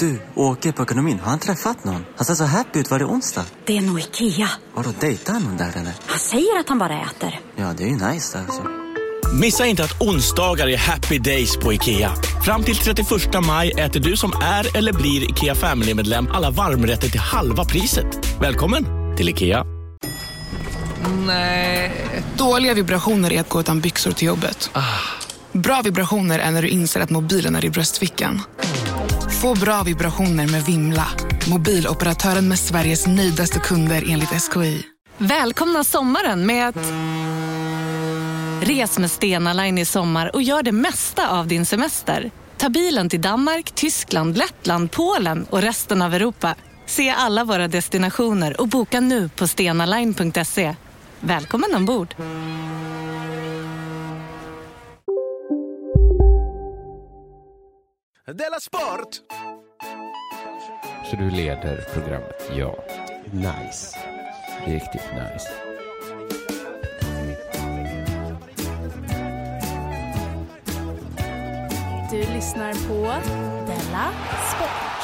Du, åker på ekonomin. Har han träffat någon? Han ser så happy ut. Var det onsdag? Det är nog Ikea. Har du dejtat någon där eller? Han säger att han bara äter. Ja, det är ju nice alltså. Missa inte att onsdagar är happy days på IKEA. Fram till 31 maj äter du som är eller blir IKEA Family-medlem alla varmrätter till halva priset. Välkommen till IKEA. Nej. Dåliga vibrationer är att gå utan byxor till jobbet. Bra vibrationer är när du inser att mobilen är i bröstfickan. Få bra vibrationer med Vimla. Mobiloperatören med Sveriges nöjdaste kunder enligt SKI. Välkomna sommaren med att... Res med Stena Line i sommar och gör det mesta av din semester. Ta bilen till Danmark, Tyskland, Lettland, Polen och resten av Europa. Se alla våra destinationer och boka nu på stenaline.se. Välkommen ombord! Della Sport! Så du leder programmet? Ja. Nice. Riktigt nice. Du lyssnar på Della Sport.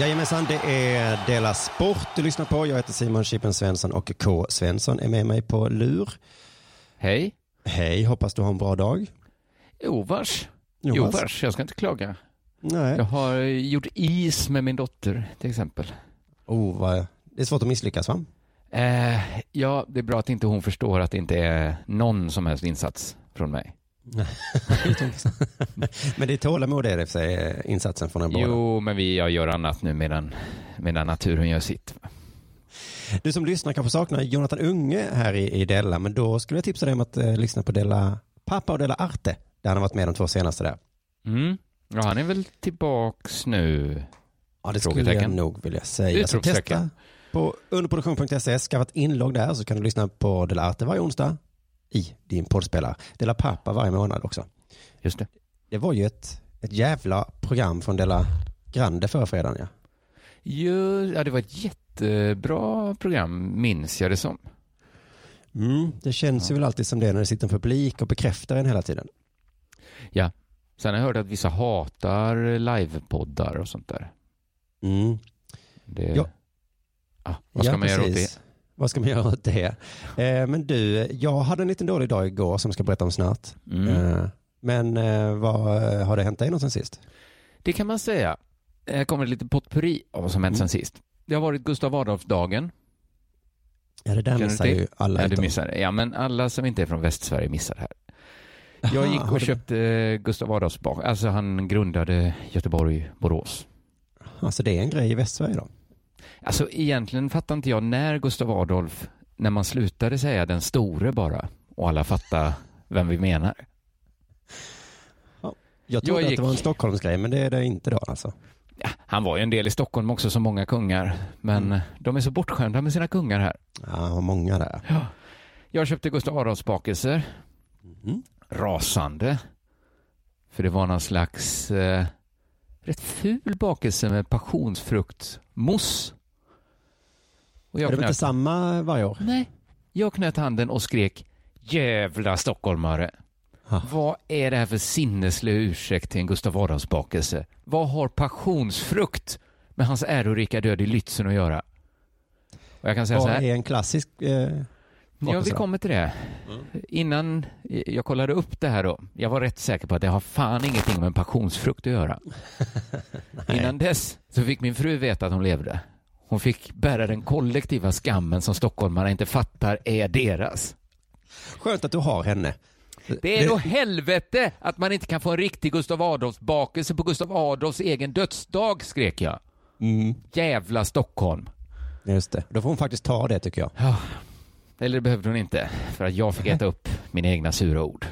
Jajamensan, det är Dela Sport du lyssnar på. Jag heter Simon Chippen Svensson och K. Svensson är med mig på lur. Hej. Hej, hoppas du har en bra dag. Jovars. Jovars. Jovars. Jag ska inte klaga. Nej. Jag har eh, gjort is med min dotter till exempel. Oh, vad... Det är svårt att misslyckas va? Eh, ja, det är bra att inte hon förstår att det inte är någon som helst insats från mig. Men det är tålamod är det för sig, eh, insatsen från en båda. Jo, men vi, jag gör annat nu medan, medan naturen gör sitt. Du som lyssnar kanske saknar Jonathan Unge här i, i Della, men då skulle jag tipsa dig om att eh, lyssna på Della Pappa och Della Arte, där han har varit med de två senaste där. Mm. Ja, han är väl tillbaks nu. Ja, det skulle jag Frågetecken. nog vilja Det är säga. Så utropstecken. testa på underproduktion.se, skaffa ett inlogg där så kan du lyssna på Dela Arte varje onsdag i din poddspelare. Dela Pappa varje månad också. Just det. Det var ju ett, ett jävla program från Dela Grande förra fredagen. Ja. Ju- Ja, det var ett jättebra program, minns jag det som. Mm, det känns ju väl alltid som det när det sitter en publik och bekräftar en hela tiden. Sen har jag hört att vissa hatar livepoddar och sånt där. Mm. Det... Ja. Ah, vad ska Ja, man göra åt precis. det? Vad ska man göra åt det? Eh, men du, jag hade en liten dålig dag igår som jag ska berätta om snart. Mm. Eh, men eh, vad eh, har det hänt dig något sen sist? Det kan man säga. Här kommer lite potpurri av vad som hänt Mm. sen sist. Det har varit Gustav Adolfsdagen. Ja, det där Kan du missar inte- ju alla. Ja, du utom- missar det. Ja, men alla som inte är från Västsverige missar det här. Jag Aha, gick har och du- köpte eh, Gustav Adolfs bak. Alltså han grundade Göteborg, Borås. Alltså det är en grej i Västsverige då? Alltså egentligen fattar inte jag när Gustav Adolf, när man slutade säga den store bara och alla fattar vem vi menar. Jag trodde Jag att gick- det var en Stockholmsgrej, men det är det inte då alltså. Ja, han var ju en del i Stockholm också som många kungar, men Mm. de är så bortskämda med sina kungar här. Ja, vad många där. Jag köpte Gustav Adolfsbakelser, Mm. rasande, för det var någon slags eh, rätt ful bakelse med passionsfruktmousse. Och Är jag det väl knöt, inte samma varje år? nej, jag knöt handen och skrek jävla stockholmare. Ah. Vad är det här för sinneslig ursäkt till en Gustav Adolfsbakelse? Vad har passionsfrukt med hans ärorika död i Lützen att göra? Och jag kan säga så Vad här. är en klassisk... Eh, Ja, vi bakelse då? kommer till det. Innan jag kollade upp det här då, jag var rätt säker på att det har fan ingenting med en passionsfrukt att göra. Innan dess så fick min fru veta att hon levde. Hon fick bära den kollektiva skammen som stockholmarna inte fattar är deras. Skönt att du har henne. Det är då helvete att man inte kan få en riktig Gustav Adolfs-bakelse på Gustav Adolfs egen dödsdag, skrek jag. Mm, Jävla Stockholm. just det. Då får hon faktiskt ta det tycker jag. Eller det behövde hon inte, för att jag fick äta upp mina egna sura ord.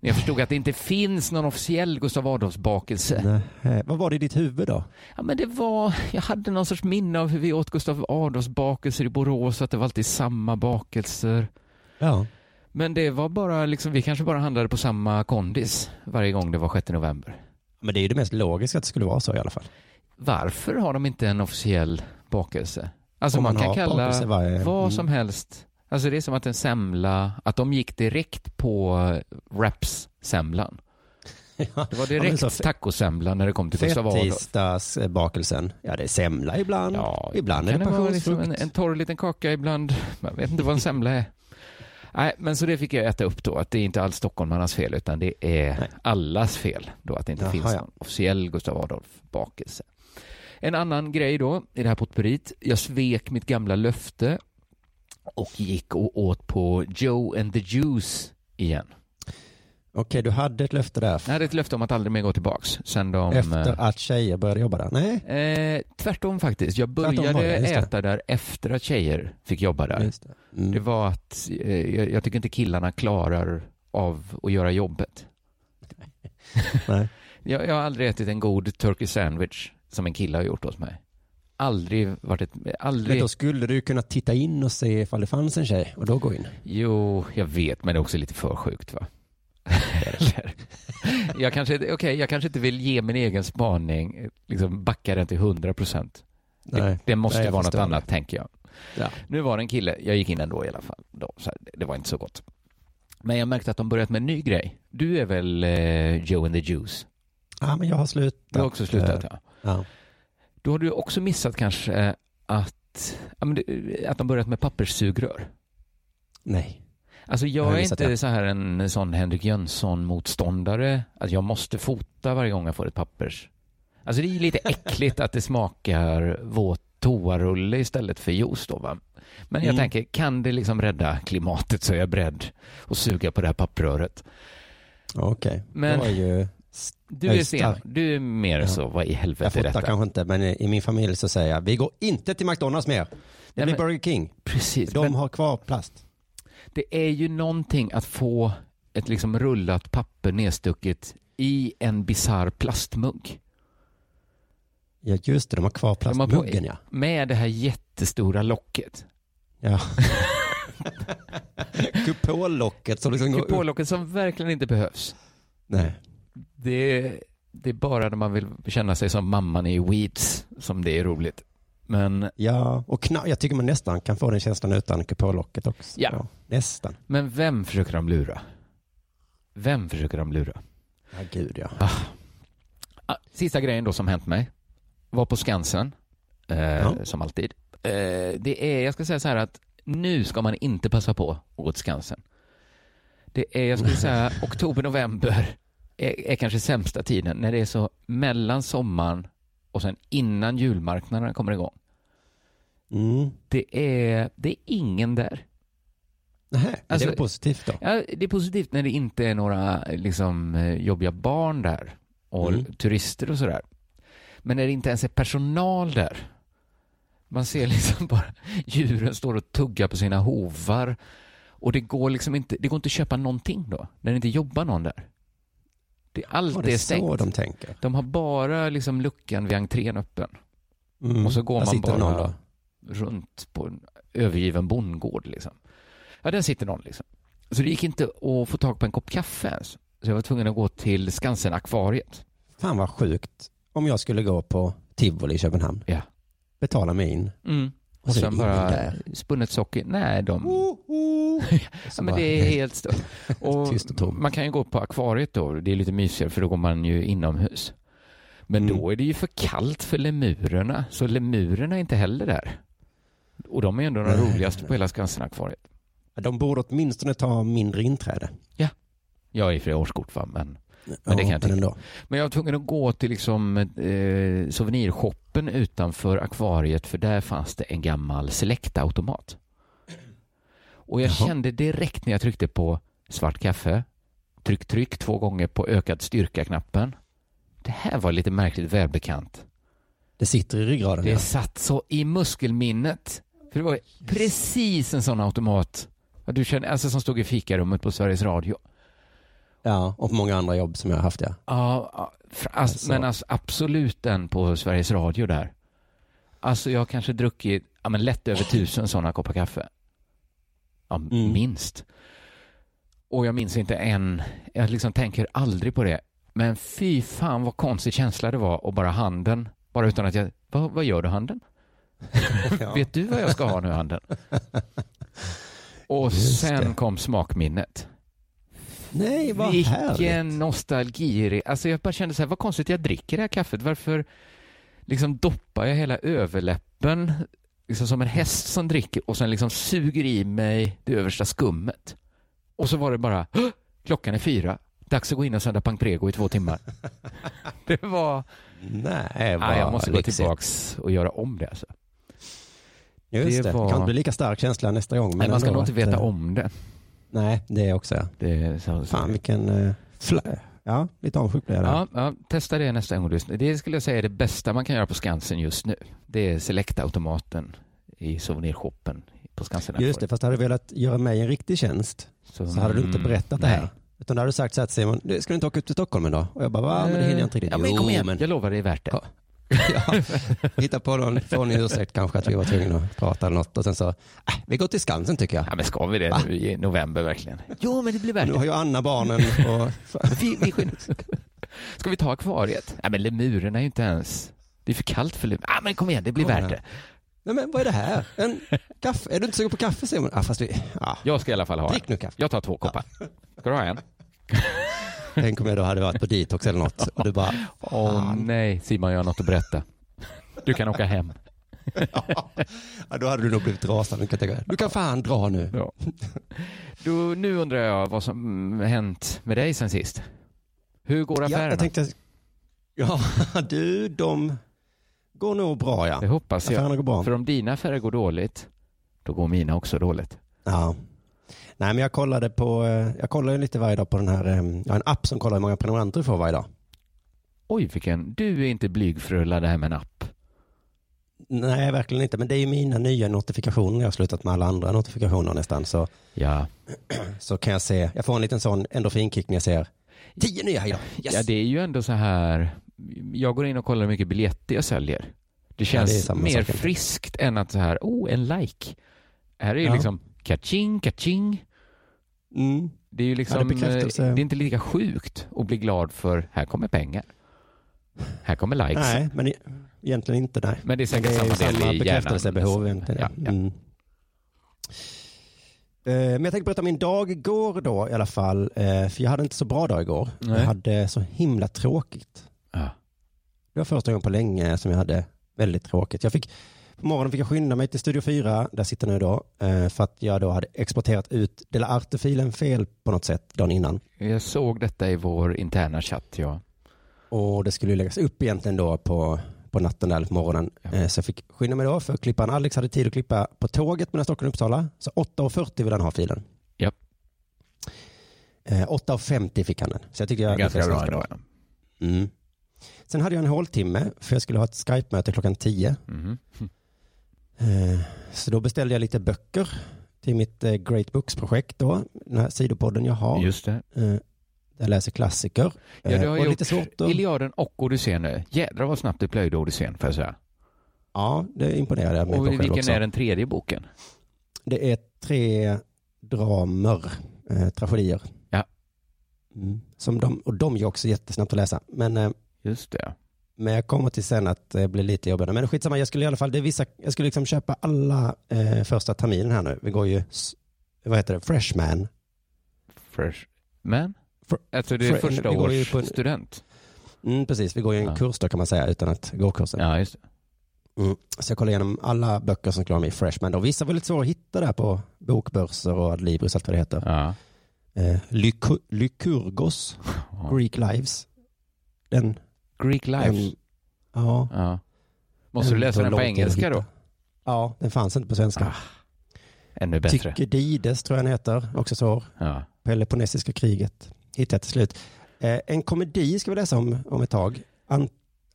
Men jag förstod att det inte finns någon officiell Gustav Adolfs-bakelse. Nej. Vad var det i ditt huvud då? Ja, men det var, jag hade någon sorts minne av hur vi åt Gustav Adolfs-bakelser i Borås, att det var alltid samma bakelser. Ja. Men det var bara liksom, vi kanske bara handlade på samma kondis varje gång det var 6 november. Men det är ju det mest logiska att det skulle vara så i alla fall. varför har de inte en officiell bakelse? Alltså Om man, man kan har bakelse kalla varje- vad Mm. som helst. Alltså det är som att en semla, att de gick direkt på eh, wraps-semlan. Det var direkt tacosemla när det kom till Gustav Adolf. Fettisdagsbakelsen. Ja, det är semla ibland. Ja, ibland är kan det vara liksom passionsfrukt. en, en torr liten kaka ibland. Man vet inte vad en semla är. Nej, men så det fick jag äta upp då, att det är inte alls stockholmarnas fel, utan det är allas fel då att det inte Jaha, finns ja. någon officiell Gustav Adolf-bakelse. En annan grej då, i det här potpurrit, jag svek mitt gamla löfte och gick och åt på Joe and the Juice igen. Okej, du hade ett löfte där. Jag hade ett löfte om att aldrig mer gå tillbaks sen de... eh, Efter att tjejer började jobba där. Nej, Eh, tvärtom faktiskt. Jag Tvärtom var började det, just det. äta där efter att tjejer fick jobba där. just det. Mm. Det var att eh, jag, jag tycker inte killarna klarar av att göra jobbet. Nej. Jag, jag har aldrig ätit en god turkey sandwich som en kille har gjort åt mig. Aldrig varit ett... Men Aldrig... då skulle du kunna titta in och se ifall det fanns en tjej och då gå in. Jo, jag vet, men det är också lite för sjukt va? Eller? jag, kanske, okej, jag kanske inte vill ge min egen spaning, eh, liksom backa den till 100 procent. Det, det måste Nej, jag vara något förstår annat, tänker jag. Ja. Nu var det en kille, jag gick in ändå i alla fall. Då, så här, det- det var inte så gott. Men jag märkte att de börjat med en ny grej. Du är väl eh, Joe and the Juice? Ja, men jag har slutat. Du har också slutat Eh, ja. Ja. Då har du också missat kanske eh, att, ja, men, det- eh, att de börjat med papperssugrör. Nej. Alltså jag, Jag har är missat inte det. så här en sån Henrik Jönsson-motståndare. Att jag måste fota varje gång jag får ett pappers. Alltså det är lite äckligt att det smakar våt toarulle istället för juice då va. Men jag Mm. tänker, kan det liksom rädda klimatet så är jag beredd att suga på det här pappröret. Okej. Men- Det var ju... Du Jag är är sen, stark. du är mer Ja. så, vad i Jag helvete är fotar detta? kanske inte, men i min familj så säger jag, vi går inte till McDonalds mer. Det Nej, blir men- Burger King. Precis, De men har kvar plast. det är ju någonting att få ett liksom rullat papper nedstucket i en bisarr plastmugg. Ja, just det, de har kvar De har på- plastmuggen ja. Med det här jättestora locket. ja. Kupollocket som liksom går upp. Kupollocket som verkligen inte behövs. Nej. Det, det är bara när man vill känna sig som mamman i Weeds som det är roligt. Men, Ja, och kna- jag tycker man nästan kan få den känslan utan kupollocket också. Ja. nästan. men vem försöker de lura? Vem försöker de lura? Ja, gud ja. Ah, Sista grejen då som hänt mig var på Skansen, eh, Ja. som alltid. Eh, det är, jag ska säga så här att nu ska man inte passa på att gå till Skansen. Det är, jag skulle säga, oktober, november är, är kanske sämsta tiden när det är så mellan sommaren och sen innan julmarknaderna kommer igång. Mm. Det är, det är ingen där. Nej, Alltså- det var positivt då. Ja, det är positivt när det inte är några liksom, eh, jobbiga barn där och Mm. turister och sådär. Men när det inte ens är personal där. Man ser liksom bara djuren står och tuggar på sina hovar. Och det går liksom inte, det går inte att köpa någonting då, när det inte jobbar någon där. Det, allt Var är det så stängt. de tänker? De har bara liksom luckan vid entrén öppen. Mm. Och så går Där man sitter bara- någon då. runt på en övergiven bondgård. Liksom. Ja, där sitter någon. Liksom. Så det gick inte att få tag på en kopp kaffe ens. Så jag var tvungen att gå till Skansen-akvariet. Fan vad sjukt om jag skulle gå på Tivoli i Köpenhamn. Ja. Betala mig in. Och, så är Mm. sen det ingen bara där. Oh, spunnet socker. Nej, de... Så Ja, men bara, det är helt stört. Och Tyst och tomt. man kan ju gå på akvariet då. Det är lite mysigare för då går man ju inomhus. Men Mm. då är det ju för kallt för lemurerna. Så lemurerna är inte heller där. Och de är ju ändå de Nej, roligaste nej. på hela Skansen-akvariet. De borde åtminstone ta mindre inträde. Jag är i flera årskort va, men Men det kan jag tycka. ändå. Men jag var tvungen att gå till liksom, eh, souvenirshoppen utanför akvariet för där fanns det en gammal Selecta-automat. Och jag Jaha. kände direkt när jag tryckte på svart kaffe, tryck, tryck två gånger på ökad styrka-knappen. Det här var lite märkligt välbekant. Det sitter i ryggraden. Det ja. satt så i muskelminnet. För det var precis en sån automat Ja, du känner, alltså som stod i fikarummet på Sveriges Radio. Ja, och många andra jobb som jag har haft ja. Ja, ja, fr- alltså, Alltså. men alltså, absolut den på Sveriges Radio där. Alltså jag har kanske druckit ja, men lätt över tusen sådana koppar kaffe. Ja, m- Mm. minst. Och jag minns inte en, jag liksom tänker aldrig på det. Men fy fan vad konstig känsla det var och bara handen, bara utan att jag, vad, vad gör du handen? Ja. Vet du vad jag ska ha nu handen? Och Just sen det. kom smakminnet. Nej, vad härligt. Vilken nostalgi. Alltså jag bara kände så här, vad konstigt jag dricker det här kaffet. Varför liksom doppar jag hela överläppen liksom som en häst som dricker och sen liksom suger i mig det översta skummet. Och så var det bara, "Hå! klockan är fyra, dags att gå in och sända Pangrego i två timmar. det var, Nej, vad nej, jag måste gå lyxigt. tillbaks och göra om det alltså. Det Just det. var- Det kan inte bli lika stark känsla nästa gång. Men Nej, man ska ändå nog inte att, veta eh, om det. Nej, det också. Ja. det är så, så. Fan vilken... eh, Fla... Ja, lite avundsjuk blir jag där. Ja, ja, testa det nästa gång du lyssnar. Det skulle jag säga är det bästa man kan göra på Skansen just nu. Det är Select-automaten i souvenirshoppen på Skansen. Just det, fast hade du velat göra mig en riktig tjänst så hade du inte mm, berättat det nej. här. Utan då hade du sagt så här till Simon, "Du, ska du inte åka upp till Stockholm idag? Och jag bara, va? Men det hinner jag inte riktigt. Eh, Ja, men Jo, kom igen. men- Jag lovar, det är värt det. Ja. ja, hitta på någon fånig ursäkt kanske att vi var tvungna att prata eller något och sen så, äh, vi går till Skansen tycker jag. Ja, men ska vi det nu i november verkligen? Jo, men det blir värt Nu har ju Anna barnen och... Vi, vi skyndar oss. Ska vi ta akvariet? Ja, men lemurerna är ju inte ens... Det är för kallt för lemurerna. Ja, men kom igen, det blir Ja, värt men- det. Nej men vad är det här? En kaffe? Är du inte sugen på kaffe Simon? Ja, fast vi... Ja, Jag ska i alla fall ha Drick nu en. kaffe. Jag tar två koppar. Ska du ha en? tänk om jag då hade varit på detox eller något och du bara, Åh nej, Simon, jag har något att berätta. Ah. Du kan åka hem. ja, då hade du nog blivit rasande. kan jag tänka mig. Du kan fan dra nu. Ja. Då, nu undrar jag vad som mm, hänt med dig sen sist. Hur går Ja, affärerna? jag tänkte... Ja, du, de går nog bra Det ja. hoppas jag. Affärerna går bra. För om dina affärer går dåligt, då går mina också dåligt. Ja. Nej, men jag kollade på, eh, jag kollar ju lite varje dag på den här, eh, jag har en app som kollar hur många prenumeranter du får varje dag. Oj, vilken... Du är inte blyg för att rulla det här med en app. Nej, verkligen inte, men det är ju mina nya notifikationer. Jag har slutat med alla andra notifikationer nästan, så, Ja, så kan jag se, jag får en liten sån endorfinkick när jag ser tio nya idag. Yes! ja, det är ju ändå så här... Jag går in och kollar hur mycket biljetter jag säljer. Det det är känns samma mer sak. friskt än att så här, oh, en like. Här är ju Ja. liksom catching, catching. Mm. Det är ju Ja, liksom, det är bekräftelse. eh, det är inte lika sjukt att bli glad för här kommer pengar. Här kommer likes. Nej, men e- egentligen inte, nej. Men det är säkert Men det är ju samma del samma i bekräftelsebehov hjärnan. egentligen. Ja, ja. Mm. Eh, Men jag tänkte berätta om min dag igår då i alla fall. eh, För jag hade inte så bra dag igår. Nej. Jag hade så himla tråkigt. Ja. Det var första gången på länge som jag hade väldigt tråkigt. Jag fick, på morgonen fick jag skynda mig till Studio 4, där sitter nu då, eh, för att jag då hade exporterat ut Dela Arte-filen fel på något sätt dagen innan. Jag såg detta i vår interna chatt, ja. Och det skulle ju läggas upp egentligen då på, på natten där, eller på morgonen. Ja. Eh, Så jag fick skynda mig då för klipparen Alex hade tid att klippa på tåget mellan Stockholm och Uppsala. Så 8.40 ville han ha filen. Ja. Eh, 8.50 fick han den. Så jag tyckte jag lyckades ganska bra. ja. Mm. Sen hade jag en håltimme för jag skulle ha ett Skype-möte klockan 10. Mhm. Eh, Så då beställde jag lite böcker till mitt eh, Great Books-projekt då, den här sidopodden jag har. Just det. Eh, Där jag läser klassiker. Ja, du Eh, har och gjort lite svårt att... Iliaden och Odysseen nu. Jädrar vad snabbt du plöjde Odysseen, får jag säga. Ja, det imponerade jag mig på Och själv vilken också. är den tredje boken? Det är tre dramer, eh, tragedier. Ja. Mm. Som de, och de är också jättesnabbt att läsa. Men, eh, Just det. men jag kommer till sen att det blir lite jobbigare. Men skitsamma, jag skulle i alla fall, det är vissa, jag skulle liksom köpa alla eh, första terminen här nu. Vi går ju, s- vad heter det, freshman. Fresh. Men? Fr- Alltså det är Fr- första vi går ju års på en- student. Mm, precis, vi går ju en Ja. kurs då kan man säga utan att gå kursen. Ja, just det. Mm. Så jag kollade igenom alla böcker som skulle vara med i freshman. Och vissa var lite svåra att hitta där på bokbörser och Adlibris och allt vad det heter. Ja. Eh, Lyku- Lykurgos, Greek Lives. Den Greek Lives. Den- Ja. Ja. Måste du läsa tar den på lång tid att engelska hitta. då? Ja, den fanns inte på svenska. Ännu bättre. Tyckidides tror jag den heter, också svår. Ja. Peloponnesiska kriget hittade jag till slut. Eh, en komedi ska vi läsa om, om ett tag. An-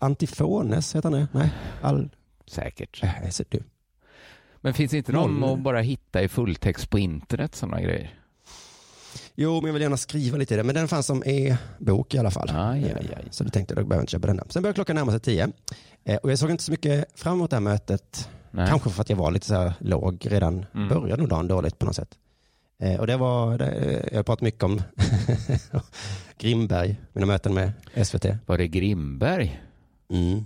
Antifones heter han det? Nej, all... Säkert. Nej, jag är så dum. Men finns inte de Noll. att bara hitta i fulltext på internet sådana grejer? Jo, men jag vill gärna skriva lite i det. Men den fanns som e-bok i alla fall. Eh, Aj, aj, aj. Så då tänkte jag, då behöver jag inte köpa den där. Sen började klockan närma sig tio. Eh, och jag såg inte så mycket fram emot det här mötet. Nej. Mm. Kanske för att jag var lite så här låg redan, började nog dagen dåligt på något sätt. Eh, och det var, det, jag har pratat mycket om Grimberg, mina möten med SVT. Var det Grimberg? Mm.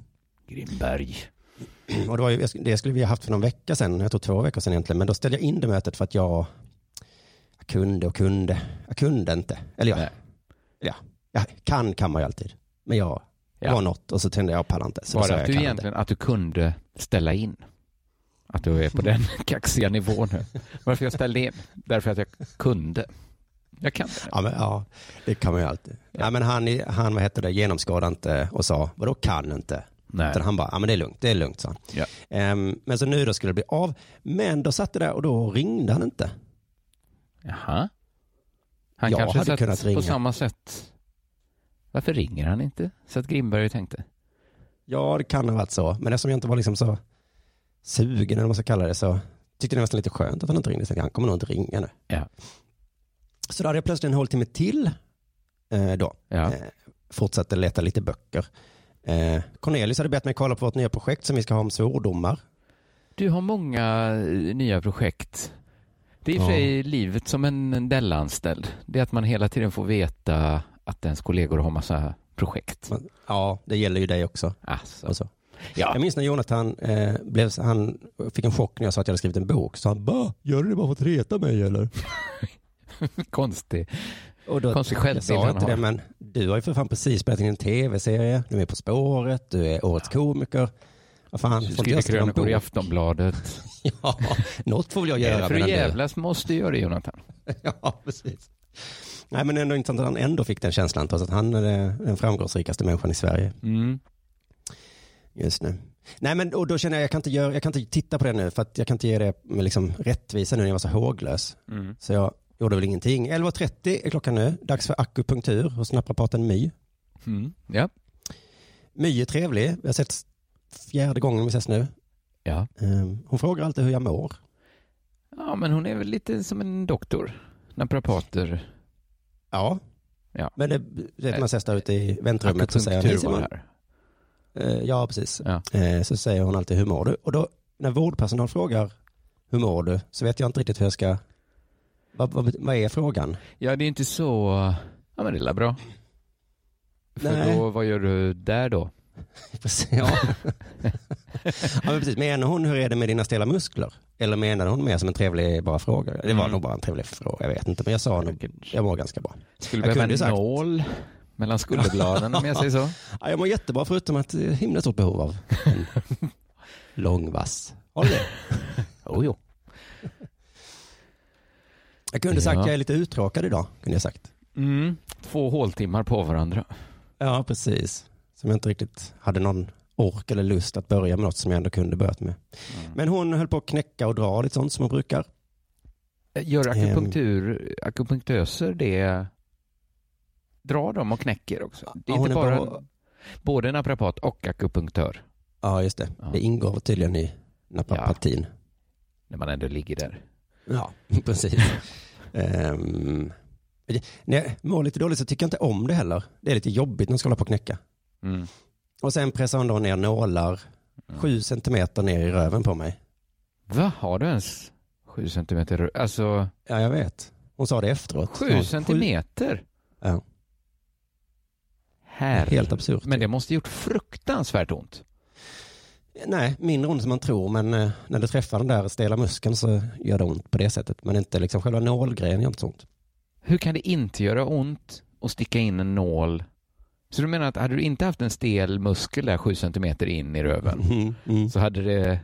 Grimberg. Och det, var ju, det skulle vi ha haft för någon vecka sedan, jag tror två veckor sedan egentligen, men då ställde jag in det mötet för att jag, jag kunde och kunde. Jag kunde inte. Eller jag, Nej. ja, jag kan kan man ju alltid. Men jag Ja. var något och så tände jag, jag pallar inte. Så då sa Bara jag, att jag du kan egentligen, att du kunde ställa in. Att du är på den kaxiga nivån nu. Varför jag ställde in? Därför att jag kunde. Jag kan det. Ja, men, ja, det kan man ju alltid. Nej, men han, han vad heter det, genomskådade inte och sa, vadå kan inte? Nej. Utan han bara, ja men det är lugnt, det är lugnt, sa han. Ja. Ehm, men så nu då skulle det bli av, men då satt det där och då ringde han inte. Jaha. Han Jag kanske hade satt kunnat på ringa. samma sätt. Varför ringer han inte? Så att Grimberg tänkte. Ja, det kan ha varit så, men eftersom jag inte var liksom så sugen eller vad man ska kalla det så tyckte det var nästan lite skönt att han inte ringde. Så han kommer nog inte ringa nu. Ja. Så då hade jag plötsligt en håltimme till eh, då. Ja. Eh, fortsatte leta lite böcker. Eh, Cornelius hade bett mig kolla på vårt nya projekt som vi ska ha om svordomar. Du har många eh, nya projekt. Det är i och för Ja. sig livet som en Dell-anställd. Det är att man hela tiden får veta att ens kollegor har massa projekt. Man, ja, det gäller ju dig också. Alltså. Och så. Ja. Jag minns när Jonathan eh, blev, så- han fick en chock när jag sa att jag hade skrivit en bok. Så han bara, gör du det bara för att reta mig eller? Konstig. Och då, Konstig jag självbild sa han inte har. det, men du har ju för fan precis spelat in en tv-serie, du är På spåret, du är Årets komiker. Vad fan, Du får inte skriver jag skriva en krönikor i bok? Aftonbladet. Ja, något får väl jag göra. För medan att du- jävlas måste du göra det, Jonathan. Ja, precis. Nej, men ändå intressant att han ändå fick den känslan trots att han är eh, den framgångsrikaste människan i Sverige Mm. just nu. Nej, men och då känner jag jag kan inte göra, jag kan inte titta på det nu för att jag kan inte ge det med liksom rättvisa nu när jag var så håglös. Mm. Så jag gjorde väl ingenting. 11.30 är klockan nu, dags för akupunktur hos naprapaten My. Mm. Ja. My är trevlig, vi har sett fjärde gången vi ses nu. ja. Ehm, Hon frågar alltid hur jag mår. Ja, men hon är väl lite som en doktor. Naprapater. Ja. Ja. Men det, det man ses där ute i väntrummet så säger hon, "Hej, Akupunktur var Simon." det här. Eh, Ja, precis. Ja. Eh, Så säger hon alltid hur mår du? Och då när vårdpersonal frågar hur mår du så vet jag inte riktigt hur jag ska... Vad, vad, vad är frågan? Ja, det är inte så... Ja, men det är väl bra. För Nej. då, vad gör du där då? Precis, ja. ja, men precis. Menar hon hur är det med dina stela muskler? Eller menar hon mer som en trevlig bara fråga? Det var Mm. nog bara en trevlig fråga, jag vet inte. Men jag sa nog, jag mår ganska bra. Skulle Jag behöva kunde ju en sagt. nål mellan skulderbladen om jag säger så. Ja, jag mår jättebra förutom att det är ett himla stort behov av en lång vass. Har du det? Oh, jo. Jag kunde sagt Ja. jag är lite uttråkad idag, kunde jag sagt. Mm. Två håltimmar på varandra. Ja, precis. Som jag inte riktigt hade någon ork eller lust att börja med något som jag ändå kunde börjat med. Mm. Men hon höll på att knäcka och dra lite sånt som hon brukar. Eh, Gör Ehm. akupunktur, akupunktöser det, drar de och knäcker också? Det är Ja, hon inte är bara, bra- både naprapat och akupunktör Ja, just det. Ja. Det ingår tydligen i naprapatin. när man ändå ligger där. Ja, precis. um, när jag mår lite dåligt så tycker jag inte om det heller. Det är lite jobbigt när man ska hålla på och knäcka. Mm. Och sen pressar hon då ner nålar sju centimeter ner i röven på mig. Va, har du ens sju centimeter rö- Alltså Ja, jag vet. Hon sa det efteråt. sju Ja, centimeter? Ja. Här. Helt absurt. Men det måste gjort fruktansvärt ont. Nej, mindre ont som man tror, men eh, när du träffar den där stela muskeln så gör det ont på det sättet. Men inte liksom själva nålgrejen gör inte så ont. Hur kan det inte göra ont att sticka in en nål? Så du menar att hade du inte haft en stel muskel där sju centimeter in i röven Mm, mm. så hade det,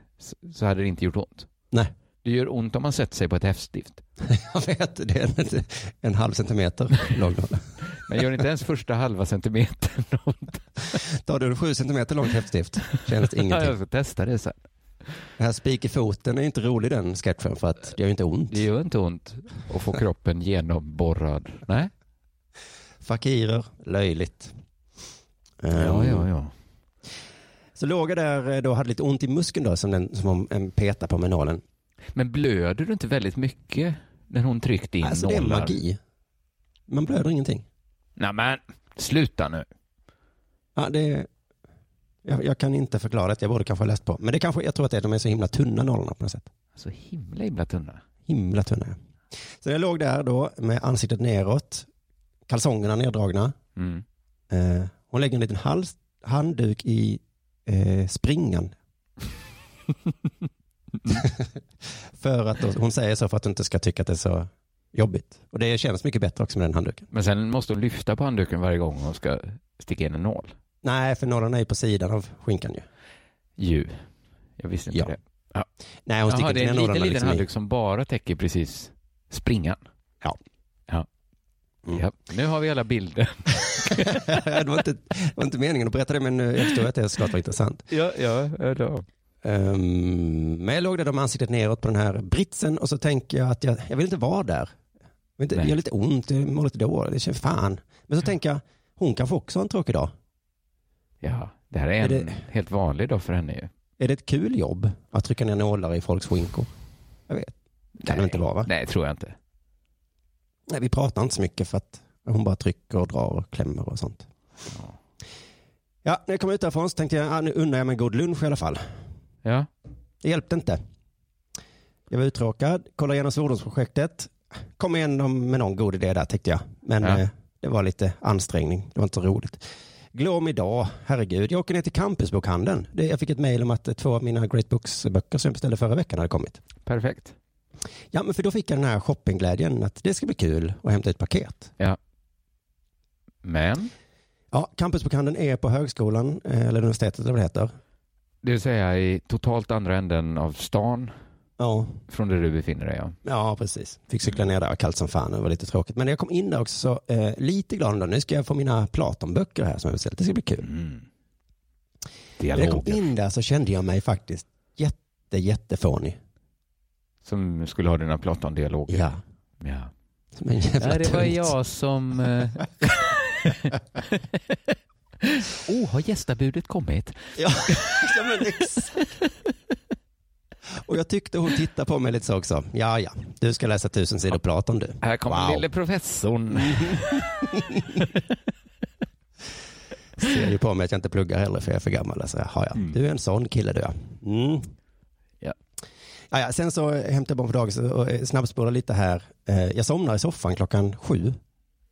så hade det inte gjort ont? Nej. Det gör ont om man sätter sig på ett häftstift. Jag vet, det är en, en halv centimeter lång nål. Men gör inte ens första halva centimetern ont? Tar du en sju centimeter långt häftstift känns det Ja, jag ingenting. ska testa alltså det sen. Det här spik i foten är inte rolig den sketchen för att det gör ju inte ont. Det gör inte ont att få kroppen genomborrad. Nej? Fakirer, löjligt. Ja, Ehm, ja, ja. Så låg jag där eh, då och hade lite ont i muskeln då som, den, som om en petar på med nålen. Men blöder du inte väldigt mycket när hon tryckte in Alltså det är nålar? magi. Man blöder ingenting. Nej men, sluta nu. Ja, det, jag, jag kan inte förklara det, jag borde kanske ha läst på. Men det kanske, jag tror att det är, de är så himla tunna nollorna på något sätt. Så Alltså, himla, himla tunna. Himla tunna. ja. Så jag låg där då med ansiktet neråt, kalsongerna neddragna. Mm. Eh, hon lägger en liten hals, handduk i eh, springan. för att då, hon säger så för att du inte ska tycka att det är så jobbigt. Och det känns mycket bättre också med den handduken. Men sen måste hon lyfta på handduken varje gång hon ska sticka in en nål. Nej, för nålen är ju på sidan av skinkan ju. Ju. Jag visste inte Ja. det. Nej, hon sticker Jaha, inte det är ner en liten, nålarna liten liksom i. handduk som bara täcker precis springan. Ja. Ja. Mm. ja. Nu har vi alla bilder. det, var inte, det var inte meningen att berätta det, men eh, jag förstår att det såklart var intressant. Ja, ja, ja. Ehm, men jag låg där då med ansiktet neråt på den här britsen och så tänker jag att jag, jag vill inte vara där. Jag vill inte, det Nej. gör lite ont, jag mår lite dåligt, det känns fan. Men så tänker jag, hon kanske också har en tråkig dag. ja. Det här är Är en det- helt vanlig dag för henne ju. Är det ett kul jobb att trycka ner nålar i folks skinkor? Jag vet. Kan det inte vara va? Nej, tror jag inte. Nej, vi pratar inte så mycket för att hon bara trycker och drar och klämmer och sånt. Ja, när jag kom ut därifrån så tänkte jag, ah, nu unnar jag mig en god lunch i alla fall. Ja. Det hjälpte inte. Jag var uttråkad, kollade igenom svordomsprojektet, kom igenom med någon god idé där tänkte jag. Men Ja. eh, det var lite ansträngning, det var inte så roligt. Glöm idag, herregud. Jag åker ner till Campusbokhandeln. Det- Jag fick ett mejl om att eh, två av mina Great Books-böcker som jag beställde förra veckan hade kommit. Perfekt. Ja, men för då fick jag den här shoppingglädjen att det ska bli kul att hämta ut paket. Men, Ja, campusbokhandeln är på högskolan, eh, eller universitetet eller vad det heter. det vill säga i totalt andra änden av stan Ja, från där du befinner dig. Ja. ja precis. Fick cykla ner där, och kallt som fan, det var lite tråkigt. Men när jag kom in där också så, eh, lite glad ändå, nu ska jag få mina Platonböcker här som jag beställt, det ska bli kul. Mm. När jag kom Dialogen in där så kände jag mig faktiskt jätte, jättefånig. som skulle ha dina Platon-dialoger. Ja. Ja. Som en jävla Nej, det var tunt. jag som... eh, oh, har gästabudet kommit? Ja, ja men exakt. Och jag tyckte hon tittade på mig lite så också. Ja, ja, du ska läsa tusen sidor Platon du. Här kommer Wow. lille professorn. ser ju på mig att jag inte pluggar heller för jag är för gammal. Alltså, jaha, ja. Du är en sån kille du ja. Mm. Mm. Ja. Ja, ja. Sen så hämtade jag barn på dagis och eh, snabbspolade lite här. Eh, Jag somnar i soffan klockan sju.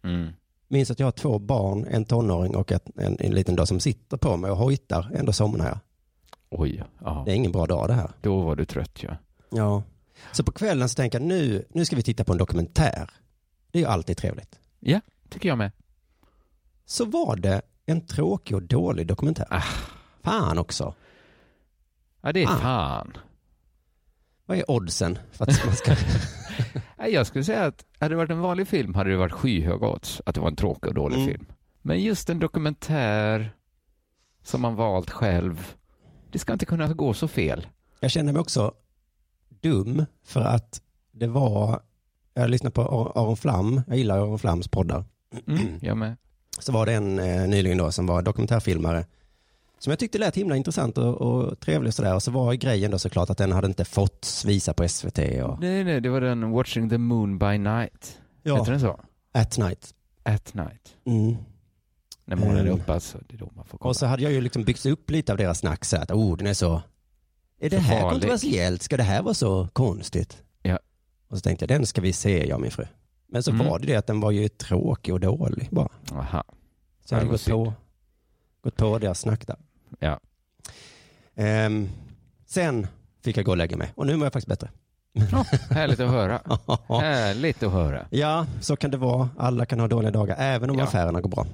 Mm. Minns att jag har två barn, en tonåring och ett, en, en liten dag som sitter på mig och hojtar. Ändå somnar jag. Oj, ja. Det är ingen bra dag det här. Då var du trött ja. Ja. Så på kvällen så tänker jag nu, nu ska vi titta på en dokumentär. Det är ju alltid trevligt. Ja, tycker jag med. Så var det en tråkig och dålig dokumentär. Ah. Fan också. Ja, det är Ah. fan. Vad är oddsen för att man ska Nej, Jag skulle säga att hade det varit en vanlig film hade det varit skyhöga odds att det var en tråkig och dålig Mm. film. Men just en dokumentär som man valt själv, det ska inte kunna gå så fel. Jag känner mig också dum för att det var, jag lyssnade på Ar- Aron Flam, jag gillar Aron Flams poddar, Mm, jag med. så var det en eh, nyligen då som var dokumentärfilmare som jag tyckte lät himla intressant och, och trevlig och sådär och så var grejen då såklart att den hade inte fått visa på SVT och Nej, nej, det var den Watching the Moon by Night. Heter den så? At Night. At Night. Mm. När månen är Mm. uppe alltså, det är då man får kolla. Och så hade jag ju liksom byggt upp lite av deras snack så här att oh den är så, är det Så här farlig. kontroversiellt? Ska det här vara så konstigt? Ja. Och så tänkte jag den ska vi se jag och min fru. Men så Mm. var det det att den var ju tråkig och dålig bara. Aha. Så jag hade Ja, vad gått på, gått på deras snack där. Ja. Ehm, sen fick jag gå och lägga mig och nu mår jag faktiskt bättre. Ja, härligt att höra. Härligt att höra. ja, så kan det vara. Alla kan ha dåliga dagar, även om Ja. affärerna går bra.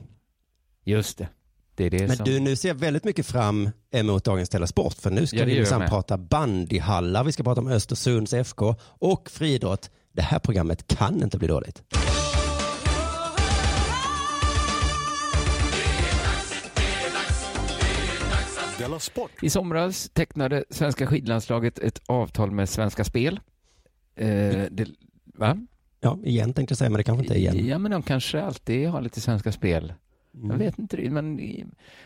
Just det. Det är det Men som... du, nu ser jag väldigt mycket fram emot dagens Della Sport, för nu ska Ja, det vi gör jag minsann med. prata bandyhallar, vi ska prata om Östersunds FK och friidrott. Det här programmet kan inte bli dåligt. Della Sport. I somras tecknade svenska skidlandslaget ett avtal med Svenska Spel. Eh, det, va? Ja, igen tänkte jag säga, men det kanske inte är igen. Mm. Ja, men de kanske alltid har lite Svenska Spel. Jag vet inte, det, men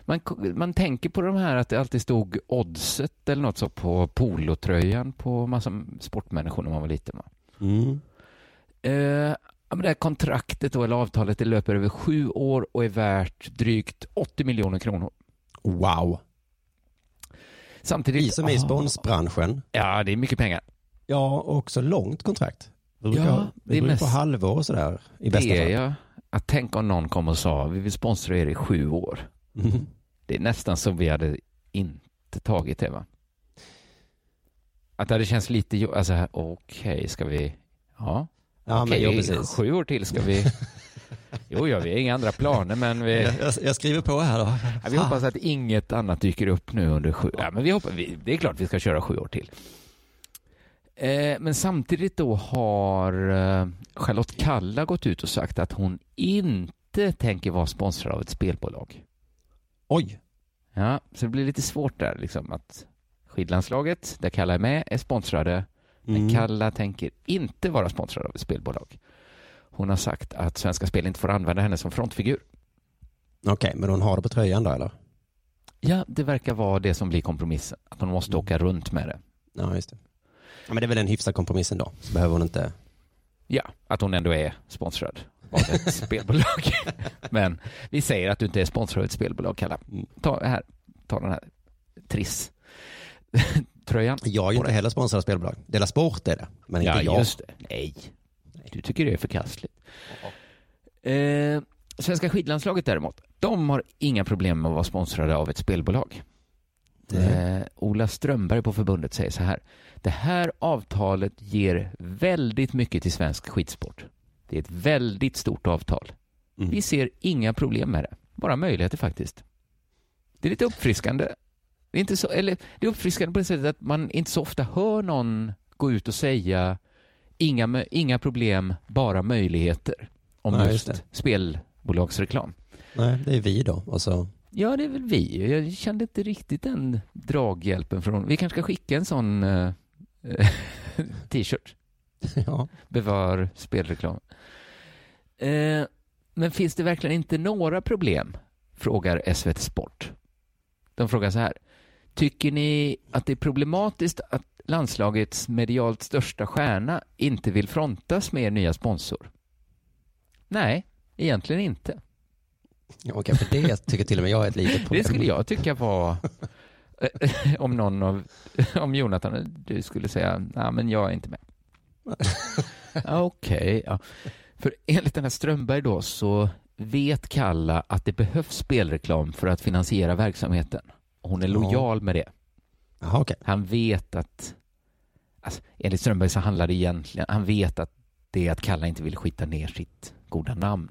man, man tänker på de här att det alltid stod oddset eller något så på polotröjan på massa sportmänniskor när man var liten. Va? Mm. Eh, ja, men det här kontraktet då, eller avtalet det löper över sju år och är värt drygt 80 miljoner kronor. Wow. Samtidigt... Vi som är i Ah, sponsbranschen, Ja, det är mycket pengar. Ja, och också långt kontrakt. Det brukar, Ja, det det är brukar mest- på halvår och sådär i bästa det är fall. jag. Att tänka om någon kom och sa vi vill sponsra er i sju år. Mhm. Det är nästan som vi hade inte tagit det va? Att det hade känts lite, jo- alltså här, okej, ska vi, ja. Ja, Okej, men, i jo, precis. sju år till ska vi... Jo, ja, vi har inga andra planer, men vi, Jag, jag skriver på här då. ja, vi hoppas att inget annat dyker upp nu under sju... Ja, men vi hoppas, vi, det är klart vi ska köra sju år till. Eh, men samtidigt då har eh, Charlotte Kalla gått ut och sagt att hon inte tänker vara sponsrad av ett spelbolag. Oj, Ja, så det blir lite svårt där liksom att skidlandslaget, där Kalla är med, är sponsrade. Mm. Men Kalla tänker inte vara sponsrad av ett spelbolag. Hon har sagt att Svenska Spel inte får använda henne som frontfigur. okej, men hon har det på tröjan då eller? Ja, det verkar vara det som blir kompromissen. Att hon måste åka runt med det. Ja, just det. Ja, men det är väl en hyfsad kompromiss ändå. Så behöver hon inte... Ja, att hon ändå är sponsrad av ett spelbolag. Men vi säger att du inte är sponsrad av ett spelbolag, Kalla. Mm. Ta, här, ta den här Triss-tröjan. Jag är ju inte heller sponsrad av spelbolag. Dela Sport är det, men inte ja, jag. just det. Nej. Du tycker det är förkastligt. Eh, Svenska skidlandslaget däremot, de har inga problem med att vara sponsrade av ett spelbolag. Eh, Ola Strömberg på förbundet säger så här. Det här avtalet ger väldigt mycket till svensk skidsport. Det är ett väldigt stort avtal. Mm. Vi ser inga problem med det. Bara möjligheter faktiskt. Det är lite uppfriskande. Det är, inte så, eller, det är uppfriskande på det sättet att man inte så ofta hör någon gå ut och säga inga, mö- inga problem, bara möjligheter. Om Nej, just just det. spelbolagsreklam. Nej, det är vi då. Och så... Ja, det är väl vi. Jag kände inte riktigt den draghjälpen från... Vi kanske ska skicka en sån eh, eh, t-shirt. Ja. Bevar spelreklam. Eh, men finns det verkligen inte några problem? Frågar SVT Sport. De frågar så här. Tycker ni att det är problematiskt att landslagets medialt största stjärna inte vill frontas med er nya sponsor? Nej, egentligen inte. Ja, Okej, för det tycker till och med jag är ett litet problem. Det skulle jag tycka var eh, om någon av, om Jonathan, du skulle säga, nej men jag är inte med. Ja, Okej, ja. För enligt den här Strömberg då så vet Kalla att det behövs spelreklam för att finansiera verksamheten. Hon är Ja. lojal med det. Jaha, okej. Han vet att, alltså, enligt Strömberg så handlar det egentligen, han vet att det är att Kalla inte vill skita ner sitt goda namn.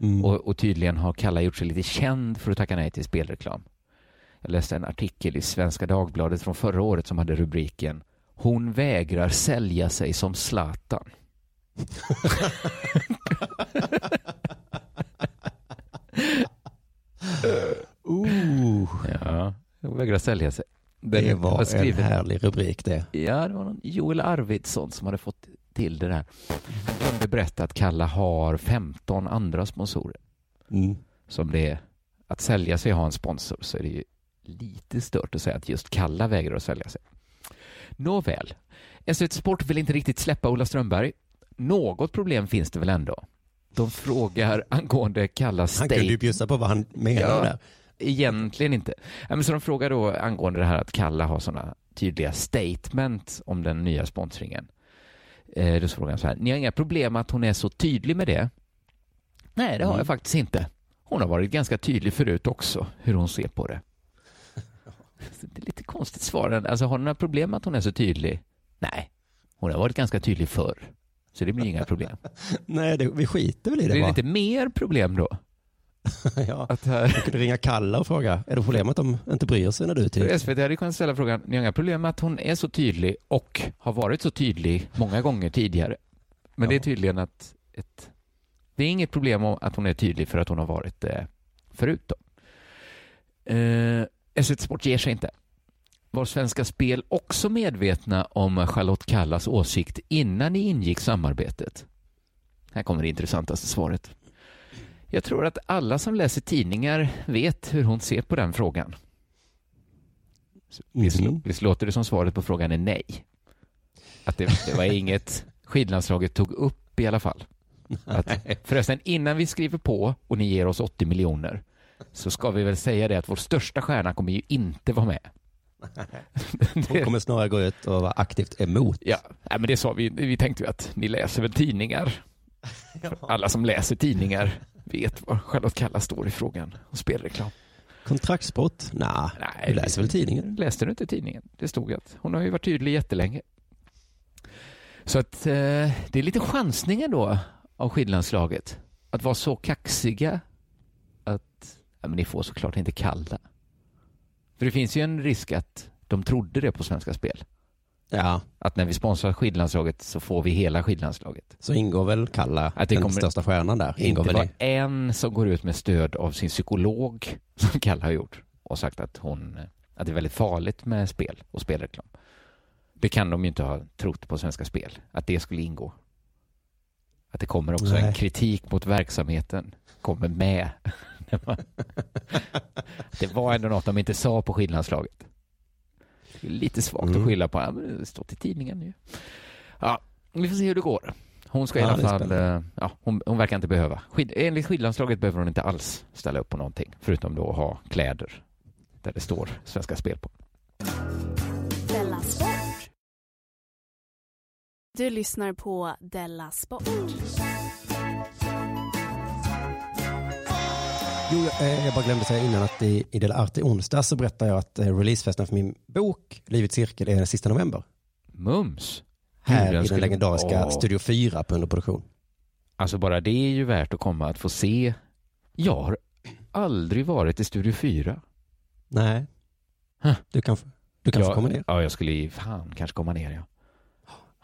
Mm. Och, och tydligen har Kalla gjort sig lite känd för att tacka nej till spelreklam. Jag läste en artikel i Svenska Dagbladet från förra året som hade rubriken Hon vägrar sälja sig som Zlatan. Ooh, Ja, hon vägrar sälja sig. Den Uh. det var var en skriven- härlig rubrik det. Ja, det var någon Joel Arvidsson som hade fått till det där. Han kunde berätta att Kalla har 15 andra sponsorer. Mm. Som det är att sälja sig och ha en sponsor så är det ju lite stört att säga att just Kalla vägrar att sälja sig. Nåväl, SVT Sport vill inte riktigt släppa Ola Strömberg. Något problem finns det väl ändå? De frågar angående Kallas Han kunde state ju bjussa på vad han menade Ja. där. Egentligen inte. Ja, men så de frågar då angående det här att Kalla har sådana tydliga statement om den nya sponsringen. Eh, då frågar han så här, ni har inga problem att hon är så tydlig med det? Nej, det har jag faktiskt inte. Hon har varit ganska tydlig förut också, hur hon ser på det. Så Det är lite konstigt svar. Alltså, har ni några problem med att hon är så tydlig? Nej, hon har varit ganska tydlig förr. Så det blir inga problem. Nej, det, vi skiter väl i det, Det är bara. lite mer problem då. ja. Att här... Du kunde ringa Kalla och fråga, är det problem att de inte bryr sig när du är typ?" För till? SVT hade kunnat ställa frågan, ni har inga problem med att hon är så tydlig och har varit så tydlig många gånger tidigare. Men det är Ja. tydligen att ett, det är inget problem om att hon är tydlig för att hon har varit det förut. Då. Eh, SVT Sport ger sig inte. Var Svenska Spel också medvetna om Charlotte Kallas åsikt innan ni ingick samarbetet? Här kommer det intressantaste svaret. Jag tror att alla som läser tidningar vet hur hon ser på den frågan. Visst, Mhm. visst låter det som svaret på frågan är nej? Att det, det var inget skidlandslaget tog upp i alla fall. Att, förresten, innan vi skriver på och ni ger oss 80 miljoner så ska vi väl säga det att vår största stjärna kommer ju inte vara med. Hon kommer snarare gå ut och vara aktivt emot. Ja, nej, men det sa vi. Vi tänkte ju att ni läser väl tidningar. Alla som läser tidningar vet vad Charlotte Kalla står i frågan om spelreklam. Kontraktsbrott? Nah, Nej, du läser väl tidningen? Läste du inte tidningen? Det stod att hon har ju varit tydlig jättelänge. Så att eh, det är lite chansningar då av skidlandslaget. Att vara så kaxiga att, ja men ni får såklart inte kalla. För det finns ju en risk att de trodde det på Svenska Spel. Ja, Att när vi sponsrar skidlandslaget så får vi hela skidlandslaget. så ingår väl Kalla, Att det den kommer- största stjärnan där, ingår Inte väl bara i. en som går ut med stöd av sin psykolog, som Kalle har gjort, och sagt att, hon, eh, att det är väldigt farligt med spel och spelreklam. Det kan de ju inte ha trott på Svenska Spel, att det skulle ingå. Att det kommer också en Nej. kritik mot verksamheten, kommer med. När man- det var ändå något de inte sa på skidlandslaget. Det är Lite svagt Mm. att skylla på, ja, men det står i tidningen ju. Ja, vi får se hur det går. Hon ska i Ja, alla det är fall, spännande. eh, ja, hon, hon verkar inte behöva. Skid, enligt skidlandslaget behöver hon inte alls ställa upp på någonting, förutom då att ha kläder där det står Svenska Spel på. Della Sport. Du lyssnar på Della Sport. Jo, jag, eh, jag bara glömde säga innan att i, i Del Arte i onsdag så berättade jag att eh, releasefesten för min bok Livets cirkel är den sista november. Mums! Gud, Här jag i den skulle- legendariska Åh, Studio 4 på underproduktion. Alltså bara det är ju värt att komma att få se. Jag har aldrig varit i Studio 4. Nej, Huh. du kan, f- du kan få jag, komma ner. Ja, jag skulle ju fan kanske komma ner ja.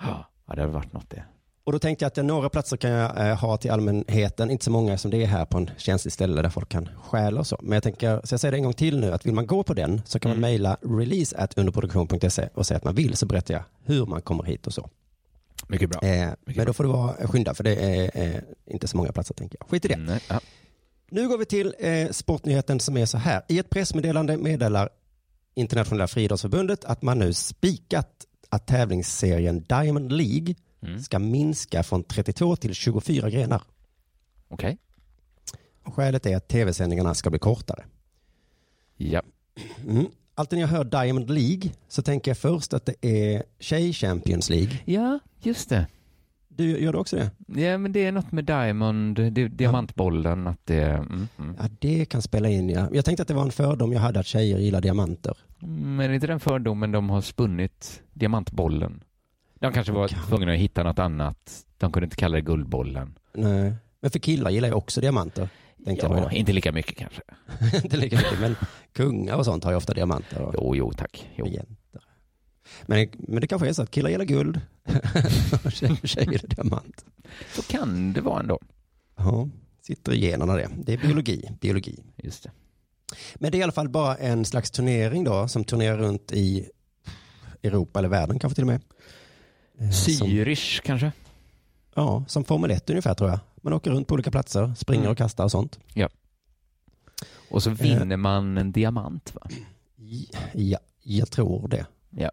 Ja, ja det hade varit något det. Och då tänkte jag att eh, några platser kan jag eh, ha till allmänheten, inte så många som det är här på en känslig ställe där folk kan stjäla och så. Men jag tänker, så jag säger det en gång till nu, att vill man gå på den så kan Mm. man mejla release at underproduktion.se och säga att man vill så berättar jag hur man kommer hit och så. Mycket bra. Eh, men då får du vara skynda för det är eh, inte så många platser tänker jag. Skit i det. Nej, ja. Nu går vi till eh, sportnyheten som är så här. I ett pressmeddelande meddelar Internationella friidrottsförbundet att man nu spikat att tävlingsserien Diamond League Mm. ska minska från 32 till 24 grenar. Okej. Och skälet är att tv-sändningarna ska bli kortare. Ja. Mm. Alltid när jag hör Diamond League så tänker jag först att det är tjej Champions League. ja, just det. Du, gör du också det? Ja, men det är något med Diamond, det, diamantbollen, att det... Mm, mm. Ja, det kan spela in ja. Jag tänkte att det var en fördom jag hade att tjejer gillar diamanter. Mm, Men är det inte den fördomen de har spunnit diamantbollen? De kanske var Kan- tvungna att hitta något annat. De kunde inte kalla det guldbollen. Nej. Men för killar gillar ju också diamanter. Tänkte jag Ja, mig inte lika mycket kanske. då. inte lika mycket, men kungar och sånt har ju ofta diamanter och Jo, jo, tack. Jo. regenter. Men, men det kanske är så att killar gillar guld och tjejer tjejer gillar diamant. Så kan det vara ändå. Ja, sitter i generna det. Det är biologi, biologi. Just det. Men det är i alla fall bara en slags turnering då som turnerar runt i Europa eller världen kanske till och med. Eh, Som, Syrish kanske? ja, som Formel 1 ungefär tror jag. Man åker runt på olika platser, springer Mm. och kastar och sånt. Och så vinner man en diamant, va? Ja, jag tror det. Ja.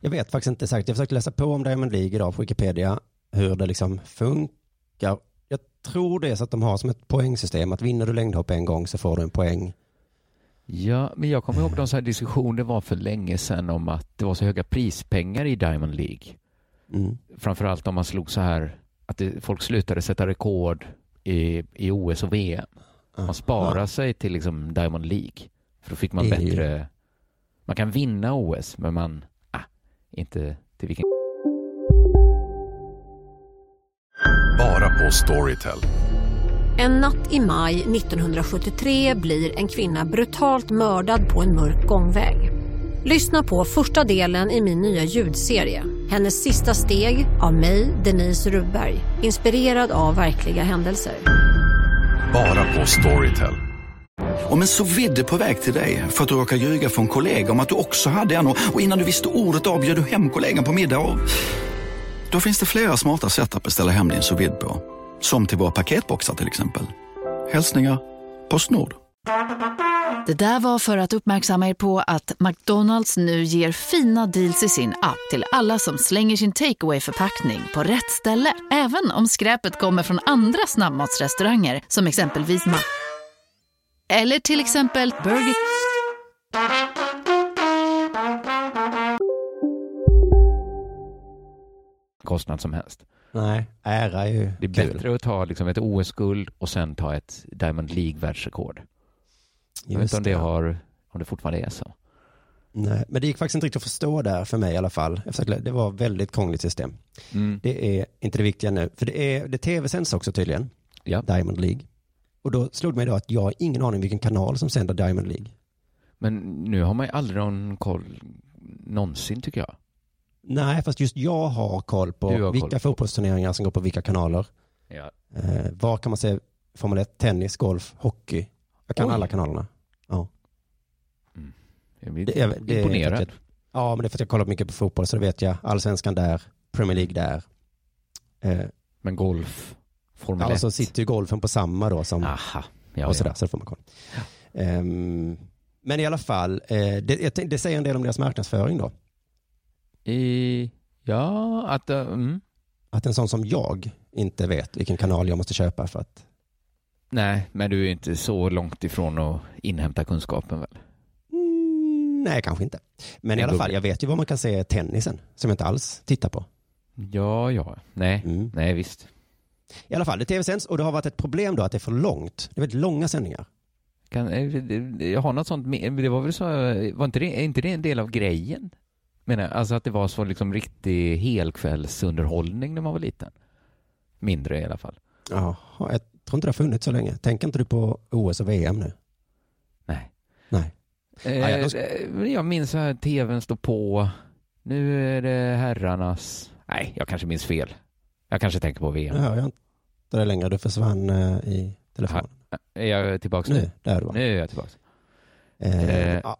Jag vet faktiskt inte exakt. Jag försökte läsa på om Diamond League idag på Wikipedia, hur det liksom funkar. Jag tror det är så att de har som ett poängsystem, att vinner du längdhopp en gång så får du en poäng. Ja, men jag kommer ihåg de så här diskussion det var för länge sedan om att det var så höga prispengar i Diamond League. Mm. framförallt om man slog så här att det, folk slutade sätta rekord i, i OS och VM. Man sparar sig till liksom Diamond League. För då fick man Det är ju- bättre... Man kan vinna OS, men man... Ah, inte till vilken... Bara på Storytel. En natt i maj 1973 blir en kvinna brutalt mördad på en mörk gångväg. Lyssna på första delen i min nya ljudserie. Hennes sista steg av mig, Denise Rubberg. Inspirerad av verkliga händelser. Bara på Storytel. Om en så vidde på väg till dig för att du råkar ljuga från kollega om att du också hade en och och innan du visste ordet av bjöd du hem kollegan på middag och... Då finns det flera smarta sätt att beställa hem din sous vide på. Som till våra paketboxar till exempel. Hälsningar Postnord. Det där var för att uppmärksamma er på att McDonalds nu ger fina deals i sin app till alla som slänger sin takeaway förpackning på rätt ställe. Även om skräpet kommer från andra snabbmatsrestauranger som exempelvis Ma... Eller till exempel Burger... kostnad som helst. Nej, ära är ju Det är kul. bättre att ta liksom ett OS-guld och sen ta ett Diamond League-världsrekord. Jag vet Just inte om det, det. har, om det fortfarande är så. Nej, men det gick faktiskt inte riktigt att förstå där för mig i alla fall. Jag försökte, det var ett väldigt krångligt system. Mm. Det är inte det viktiga nu, för det, är, det tv-sänds också tydligen, Diamond League. Och då slog det mig då att jag har ingen aning vilken kanal som sänder Diamond League. Men nu har man ju aldrig någon koll någonsin tycker jag. Nej, fast just jag har koll på Du har koll vilka på. fotbollsturneringar som går på vilka kanaler. Ja. Eh, var kan man se Formel 1, tennis, golf, hockey? Jag kan Oj. alla kanalerna. Ja. Jag blir Det är- det är imponerad. för att jag, ja, men det är för att jag kollar mycket på fotboll så det vet jag. Allsvenskan där, Premier League där. Eh, Men golf, Formel 1. alltså sitter ju golfen på samma då som... Aha. Ah, Ja, och sådär, ja. så då får man koll. Ehm, men i alla fall, eh, det, jag tänkte- det säger en del om deras marknadsföring då. I, ja, att... eh, Mm. Att en sån som jag inte vet vilken kanal jag måste köpa för att... Nej, men du är inte så långt ifrån att inhämta kunskapen väl? Mm, nej, kanske inte. Men i En alla fall, bubbla. jag vet ju vad man kan se tennisen som jag inte alls tittar på. Mm. Ja, ja. Nej, nej visst. I alla fall, det tv-sänds och det har varit ett problem då att det är för långt. Det är väldigt långa sändningar. Kan, eh, det- jag har något sånt med, men det var väl så, eh, var inte det, är inte det en del av grejen? Menar, jag, alltså att det var så liksom riktig helkvällsunderhållning när man var liten. Mindre i alla fall. Jaha, jag tror inte det har funnits så länge. Tänker inte du på OS och VM nu? Nej. Nej. Eh, Ja, jag- eh, jag minns att tvn står på, nu är det herrarnas, nej jag kanske minns fel. Jag kanske tänker på VM. Nu hör jag inte det längre. Du försvann eh, i telefonen. Är jag tillbaka Nu, där är du. Nu är jag tillbaka. Eh, Eh. ja.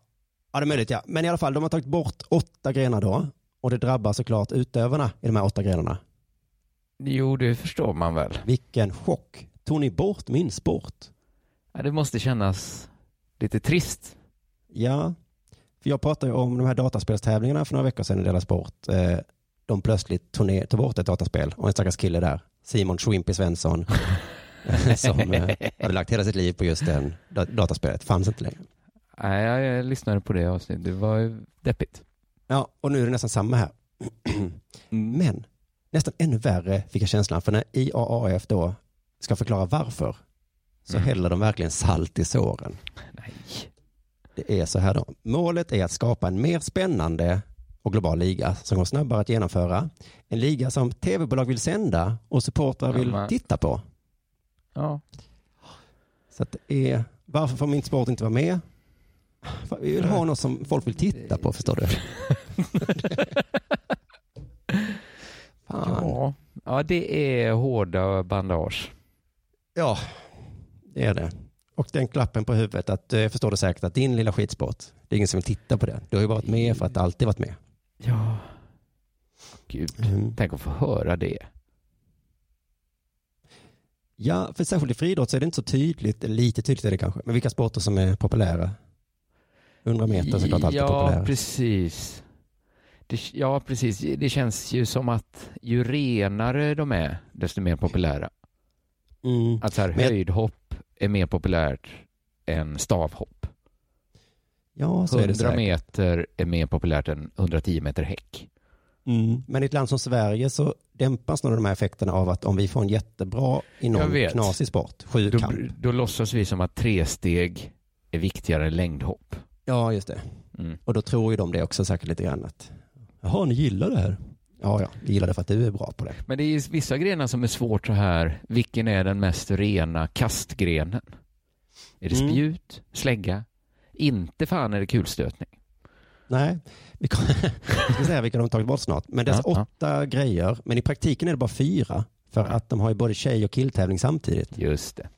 ja, det är möjligt ja. Men i alla fall, de har tagit bort åtta grenar då. Och det drabbar såklart utövarna i de här åtta grenarna. Jo, det förstår man väl. Vilken chock. Tog ni bort min sport? Ja, det måste kännas lite trist. Ja, för jag pratade ju om de här dataspelstävlingarna för några veckor sedan i Dela Sport. Eh, De plötsligt tog, ner, tog bort ett dataspel och en stackars kille där, Simon Shrimpy Svensson, som eh, hade lagt hela sitt liv på just den dat- dataspelet, fanns inte längre. Nej, jag, jag lyssnade på det avsnittet. Det var ju deppigt. Ja, och nu är det nästan samma här. Men nästan ännu värre fick jag känslan, för när IAAF då ska förklara varför så häller de verkligen salt i såren. Nej. Det är så här då. Målet är att skapa en mer spännande och global liga som går snabbare att genomföra. En liga som tv-bolag vill sända och supportrar vill Ja, men- titta på. Ja. Så att det är, varför får min sport inte vara med? För Vi vill ha något som folk vill titta på, förstår du? Fan. Ja. ja, det är hårda bandage. Ja, det är det. Och den klappen på huvudet att eh, jag förstår det säkert att din lilla skitsport, det är ingen som vill titta på den. Du har ju varit med för att du alltid varit med. Mm. Ja. Gud, tänk att få höra det. Ja, för särskilt i friidrott så är det inte så tydligt, eller lite tydligt är det kanske, men vilka sporter som är populära? 100 meter är såklart alltid ja, populära. precis. Det, ja, precis. Det känns ju som att ju renare de är, desto mer populära. Mm. Att så här, Men jag- höjdhopp är mer populärt än stavhopp. Ja, så är det 100 säkert. meter är mer populärt än 110 meter häck. Mm. Men i ett land som Sverige så dämpas några av de här effekterna av att om vi får en jättebra i Jag någon vet. knasig sport, Då, sjukamp. då låtsas vi som att tresteg är viktigare än längdhopp. Ja, just det. Mm. Och då tror ju de det också säkert lite grann att, jaha, ni gillar det här? Ja, ja, vi gillar det för att du är bra på det. Men det är ju vissa grenar som är svårt så här. Vilken är den mest rena kastgrenen? Är det Mm. spjut? Slägga? Inte fan är det kulstötning. Nej, vi kommer- jag ska säga vilka de har tagit bort snart. Men det är alltså Ja, åtta grejer, men i praktiken är det bara fyra. För att de har ju både tjej och killtävling samtidigt. Just det.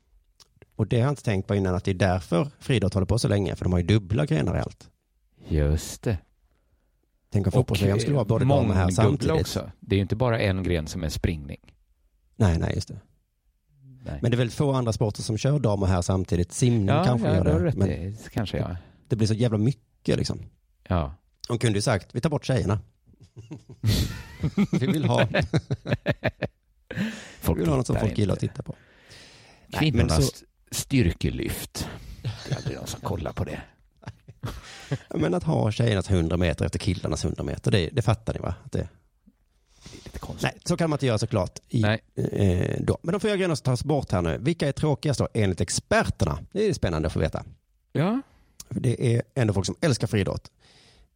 Och det har jag inte tänkt på innan att det är därför friidrott håller på så länge, för de har ju dubbla grenar i allt. Just det. Tänk om fotbolls-VM skulle vara både dam och herr mångdubbla samtidigt. också. Det är ju inte bara en gren som är springning. Nej, nej, just det. Nej. Men det är väl få andra sporter som kör dam och herr samtidigt. Simning ja, kanske ja, gör du har det, rätt men i. Kanske ja. det blir så jävla mycket liksom. Ja. De kunde ju sagt, vi tar bort tjejerna. vi vill ha, vi Folk vill ha något som tittar folk gillar att inte. titta på. Nej, men Kvinnornas så- styrkelyft. Det är aldrig någon som kollar på det. Men att ha tjejernas 100 meter efter killarnas 100 meter, det, det fattar ni va? Att det... Lite konstigt. Nej, så kan man inte göra såklart. I, Nej. eh, då. Men de fyra grejerna som tas bort här nu, vilka är tråkigast då enligt experterna? Det är spännande att få veta. Ja. Det är ändå folk som älskar friidrott.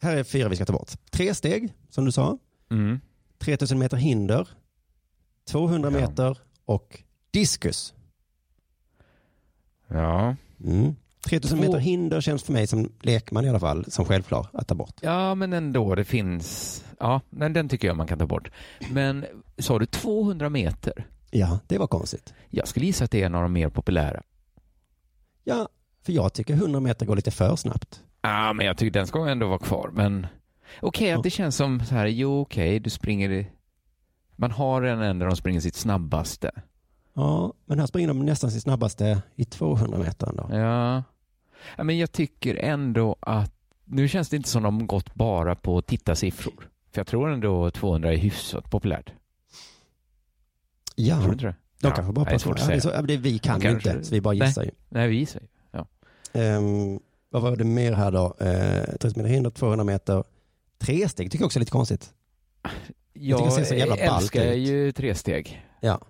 Här är fyra vi ska ta bort. Tre steg, som du sa. Mm. 3000 meter hinder. 200 meter och diskus. Ja. Mm. 3000 Två- meter hinder känns för mig som lekman i alla fall, som självklar att ta bort. Ja, men ändå, det finns... Ja, men den tycker jag man kan ta bort. Men sa du 200 meter? Ja, det var konstigt. Jag skulle gissa att det är en av de mer populära. Ja, för jag tycker 100 meter går lite för snabbt. Ja, men jag tycker den ska ändå vara kvar. Men okej, att det känns som så här, jo okej, du springer... i- Man har en än där de springer sitt snabbaste. Ja, men här springer de nästan sin snabbaste i 200 meter ändå. Ja. ja, men jag tycker ändå att... Nu känns det inte som de gått bara på tittarsiffror. För jag tror ändå 200 är hyfsat populärt. Ja, Tror du inte det? de Ja, kanske bara nej, det är svårt att ja, det, är så, säga. ja, men det, vi kan De ju kanske- inte, så vi bara Nej. gissar ju. Nej, vi gissar ju. Ja. Ehm, vad var det mer här då? Eh, 30 meter hinder, 200 meter, tre steg tycker jag också är lite konstigt. Jag tycker det ser så jävla ballt älskar ut. ju tre steg. Ja.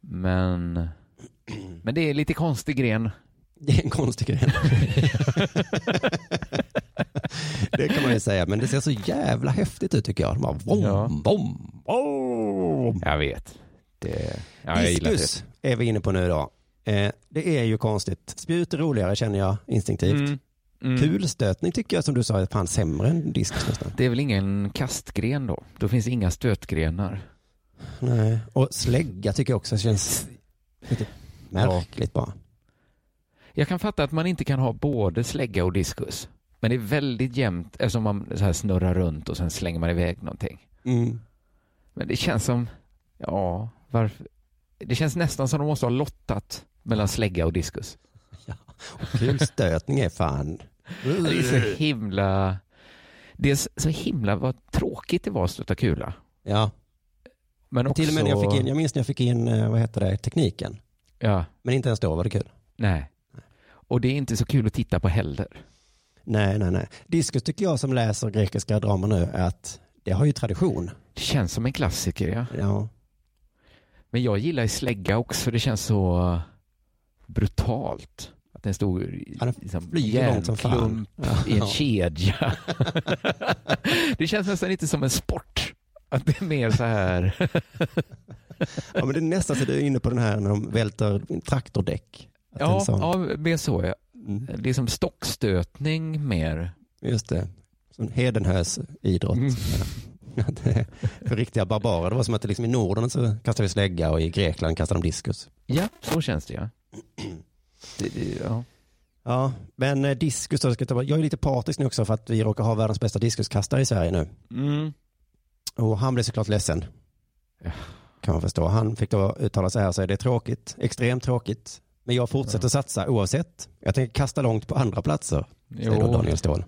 Men, men det är lite konstig gren. Det är en konstig gren. det kan man ju säga, men det ser så jävla häftigt ut tycker jag. De bara vom, Ja. vom, vom. Jag vet. Det, ja, jag gillar Diskus det. är vi inne på nu då. Eh, det är ju konstigt. Spjut är roligare känner jag instinktivt. Mm. Mm. Kulstötning tycker jag som du sa är fan sämre än diskus nästan. Det är väl ingen kastgren då? Då finns inga stötgrenar. Nej. Och slägga tycker jag också känns lite märkligt bara. Jag kan fatta att man inte kan ha både slägga och diskus. Men det är väldigt jämnt eftersom man så här snurrar runt och sen slänger man iväg någonting. Mm. Men det känns som, ja, varför? Det känns nästan som de måste ha lottat mellan slägga och diskus. Kulstötning är fan... Det är så himla... Det är så himla vad tråkigt det var att stöta kula. Ja. Men också... Till och med när jag fick in, jag minns när jag fick in, eh, vad heter det, tekniken. Ja, Men inte ens då var det kul. nej. Och det är inte så kul att titta på heller. Nej, nej, nej. Diskus tycker jag som läser grekiska dramer nu är att det har ju tradition. Det känns som en klassiker, ja. Ja, Men jag gillar ju slägga också. Det känns så brutalt. Att den stod i Ja, den liksom, flyger långt som fan. järnklump i en Ja. kedja. det känns nästan inte som en sport. Att det är mer så här. ja men det är nästan så du är inne på den här när de välter traktordäck. Att en ja, sån- ja, mer så. Ja. Mm. Det är som stockstötning mer. Just det. Som Hedenhös idrott. Mm. Att det är För riktiga barbarer. Det var som att det liksom i Norden så kastade vi slägga och i Grekland kastade de diskus. Ja, så känns det ja. Det, det, ja. Ja, men eh, diskus då. Ska jag, ta bort- jag är lite partisk nu också för att vi råkar ha världens bästa diskuskastare i Sverige nu. Mm. Och han blev såklart ledsen. Ja. Kan man förstå. Han fick då uttala sig här och säga det är tråkigt, extremt tråkigt. Men jag fortsätter satsa oavsett. Jag tänker kasta långt på andra platser, säger då Jo, Daniel Ståhl.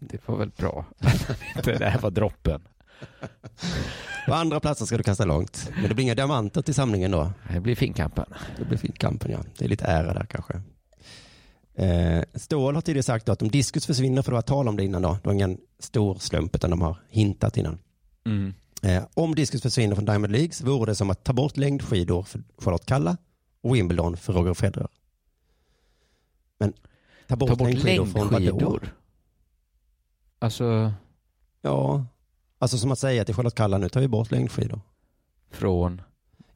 det var väl bra. det här var droppen. På andra platser ska du kasta långt. Men det blir inga diamanter till samlingen då. Det blir finkampen. Det blir fint kampen ja. Det är lite ära där kanske. Eh, Ståhl har tidigare sagt då att om diskus försvinner, för det var tal om det innan då, det var ingen stor slump utan de har hintat innan. Mm. Eh, om diskus försvinner från Diamond Leagues vore det som att ta bort längdskidor för Charlotte Kalla och Wimbledon för Roger Federer. Men ta bort, Ta bort längdskidor, från vadå? längdskidor. Alltså Ja, alltså som att säga till Charlotte Kalla nu tar vi bort längdskidor. från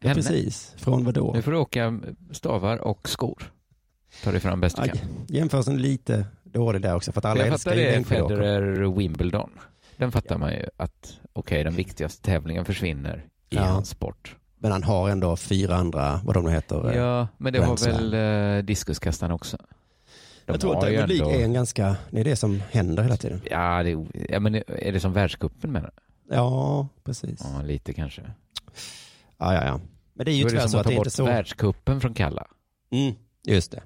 Ja, henne. precis, från vadå? Nu får du åka stavar och skor. Ta dig fram bäst du Aj, kan. Jämförelsen lite dålig där också för att alla jag älskar fattar ju det, längdskidåkning. Federer Wimbledon. Den fattar man ju att okej, den viktigaste tävlingen försvinner i Ja. hans sport. Men han har ändå fyra andra, vad de nu heter. eh, Ja, men det Grand har väl Slam. eh, diskuskastarna också? De jag tror att har ju Diamond League ändå- är en ganska, det är det som händer hela tiden. Ja, det, ja, men är det som världscupen menar du? Ja, precis. Ja, Ja, lite kanske. ja, ja. Men det är ju Då är tyvärr det så som att att det ta är inte bort så. världscupen från Kalla. Mm, just det.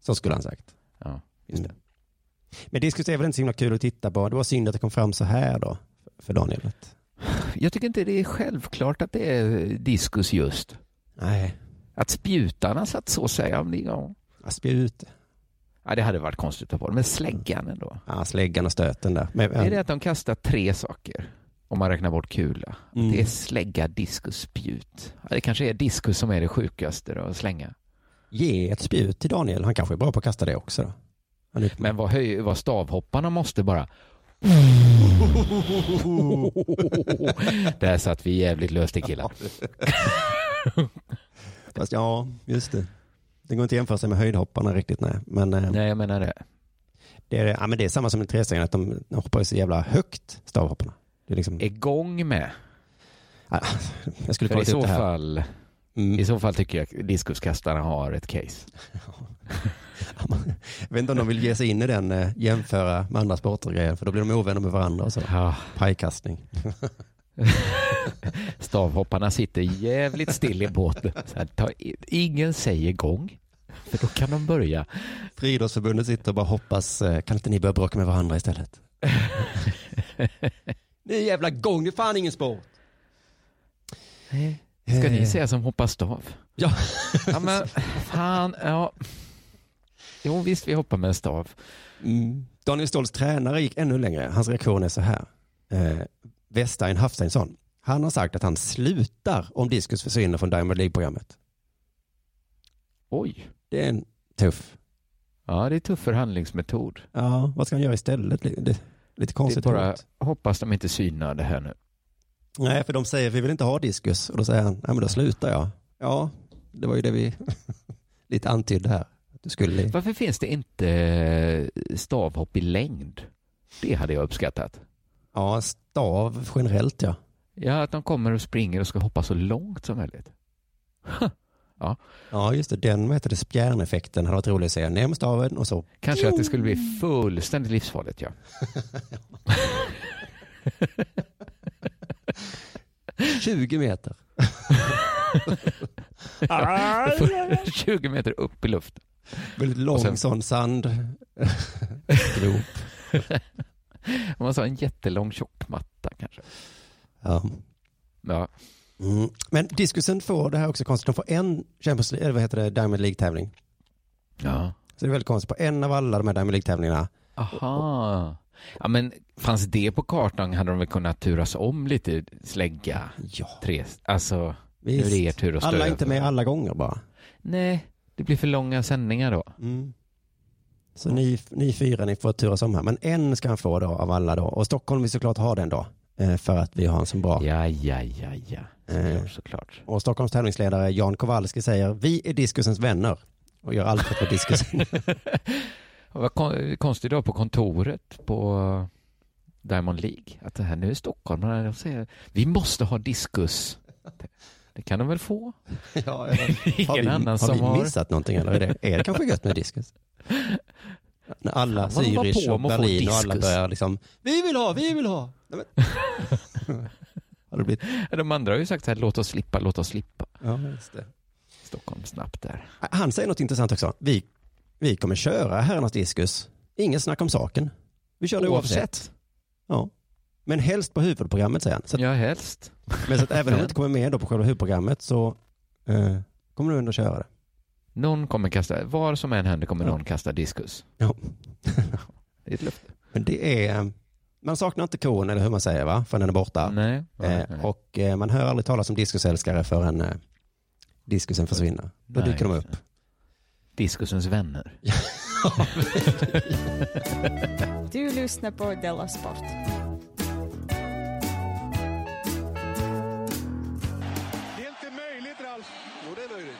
Så skulle han sagt. Ja. Just det. Men diskus är väl inte så himla kul att titta på. Det var synd att det kom fram så här då, för Daniel. Jag tycker inte det är självklart att det är diskus just. Nej, Att spjutarna satt så säger om det ja. ja, spjut, ja, det hade varit konstigt att ta bort. Men släggan ändå. ja, släggan och stöten där. Men, Är det att de kastar tre saker? Om man räknar bort kula. Mm. Det är slägga, diskus, spjut. Ja, det kanske är diskus som är det sjukaste då, att slänga. Ge ett spjut till Daniel. Han kanske är bra på att kasta det också. Då. Han är- Men vad, höj, vad stavhopparna måste bara. Där satt vi jävligt löst i killar. Fast ja, just det. Det går inte att jämföra sig med höjdhopparna riktigt nej. Men, eh, nej, jag menar det. Det är, ja, men det är samma som i trestegen, att de de hoppar ju så jävla högt, stavhopparna. Det är liksom... Är gång med? Ja, jag skulle För kolla i upp så det här. Mm. fall, I så fall tycker jag diskuskastarna har ett case. Jag vet inte om de vill ge sig in i den, eh, jämföra med andra sporter och grejer, för då blir de ovänner med varandra och så. Pajkastning. Stavhopparna sitter jävligt still i båten. Så här, ta, i- ingen säger gång, för då kan de börja. Friidrottsförbundet sitter och bara hoppas, eh, kan inte ni börja bråka med varandra istället? Det är jävla gång, det är fan ingen sport. Ska ni säga som hoppar stav? Ja. Eh. ja men fan, ja. Jo visst, vi hoppar med en stav. Mm. Daniel Ståhls tränare gick ännu längre. Hans reaktion är så här. Eh, Westein Hafsteinsson. Han har sagt att han slutar om diskus försvinner från Diamond League-programmet. Oj. Det är en tuff. Ja, det är tuff förhandlingsmetod. Ja, vad ska han göra istället? Det- det- Lite konstigt. det är bara, gjort. hoppas de inte synar det här nu. Nej, för de säger vi vill inte ha diskus. Och då säger han, nej men då slutar jag. Ja, det var ju det vi lite antydde här. Att du skulle... Varför finns det inte eh, stavhopp i längd? Det hade jag uppskattat. Ja, stav generellt ja. Ja, att de kommer och springer och ska hoppa så långt som möjligt. Ja. ja, just det. Den, vad heter det, spjärneffekten hade varit rolig att se. Ner med staven och så. Kanske att det skulle bli fullständigt livsfarligt, ja. bli 20 meter. 20 meter upp i luften. Väldigt lång Och sen- sån sand. Grop. Om man sa en jättelång tjock matta kanske. Ja. Ja. Mm. Men diskusen får, det här är också konstigt, de får en Champions League, eller vad heter det, Diamond League-tävling. Ja. Så det är väldigt konstigt, på en av alla de här Diamond League-tävlingarna. Aha. Ja, men fanns det på kartan hade de väl kunnat turas om lite, slägga tre, alltså nu är det er tur att stå alla är över. inte med alla gånger bara. Nej, det blir för långa sändningar då. Så ni, ni fyra, ni får turas om här. Men en ska han få då av alla då. Och Stockholm vill såklart ha den då. eh, För att vi har en så bra. Ja, ja, ja, ja. Eh, såklart. Och Stockholms tävlingsledare Jan Kowalski säger, vi är diskusens vänner. Och gör allt för att vara diskusen. Och Vad kon- konstigt då på kontoret på Diamond League. Att det här nu är Stockholm. men De säger vi måste ha diskus. Det- Det kan de väl få? ja, Ingen har vi, annan har som vi har- missat någonting eller är det, är det kanske gött med diskus? När alla Fan, vad de var Zürich på och med att få Berlin och alla diskus. börjar liksom, vi vill ha, vi vill ha. Nej, men- har det blivit? De andra har ju sagt så här, låt oss slippa, låt oss slippa. Ja, just det. Stockholm snabbt där. Han säger något intressant också. Vi, vi kommer köra herrarnas diskus. Inget snack om saken. Vi kör det oavsett. Ja. Men helst på huvudprogrammet säger han. Så att, Ja, helst. Men så att även om du inte kommer med då på själva huvudprogrammet så eh, kommer du ändå köra det. Någon kommer kasta, var som än händer kommer någon kasta diskus. Ja. Det är ett löfte. Men det är, man saknar inte kon eller hur man säger va, för den är borta. Nej. eh, Och eh, man hör aldrig talas om diskusälskare förrän eh, diskusen försvinner. Då Nej, dyker de just upp. Diskusens vänner. Du lyssnar på Della Sport. Det är inte möjligt, Ralf. Jo, det är möjligt.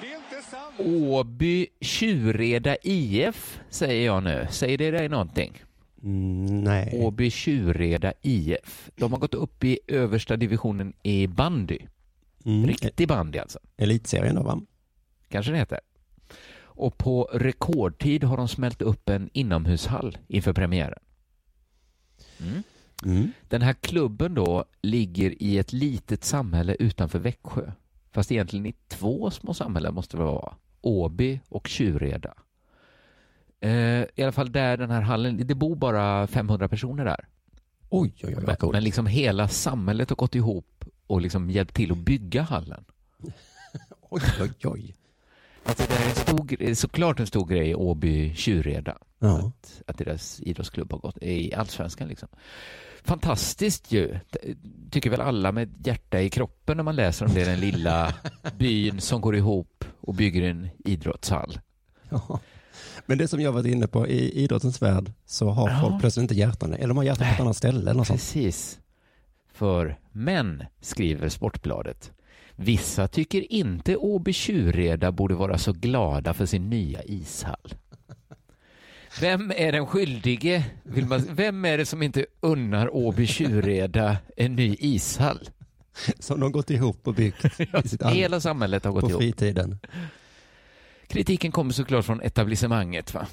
Det är inte sant. Åby Tjureda IF säger jag nu. Säger det dig någonting? Mm, Mm, nej. Åby Tjureda IF. De har gått upp i översta divisionen i bandy. Riktig bandy alltså. Mm. Elitserien då va? Kanske det heter. Och på rekordtid har de smält upp en inomhushall inför premiären. Mm. Mm. Den här klubben då ligger i ett litet samhälle utanför Växjö. Fast egentligen i två små samhällen måste det vara. Åby och Tjureda. Eh, I alla fall där den här hallen, det bor bara 500 personer där. Oj, oj, oj, men, vad coolt. men liksom hela samhället har gått ihop och liksom hjälpt till att bygga hallen. Oj, oj, oj. Alltså det där är en stor, gre- såklart en stor grej i Åby Tjureda. Ja. Att, att deras idrottsklubb har gått i allsvenskan liksom. Fantastiskt ju. T- Tycker väl alla med ett hjärta i kroppen när man läser om det. Den lilla byn som går ihop och bygger en idrottshall. Men det som jag varit inne på i idrottens värld så har Ja. folk plötsligt inte hjärtan eller de har hjärtat på ett annat ställe. Eller något sånt. Precis. För män, skriver Sportbladet. Vissa tycker inte Åby Tjureda borde vara så glada för sin nya ishall. Vem är den skyldige? Vill man, vem är det som inte unnar Åby Tjureda en ny ishall? Som de gått ihop och byggt. I sitt Hela samhället har gått på ihop. fritiden. Kritiken kommer såklart från etablissemanget. Va?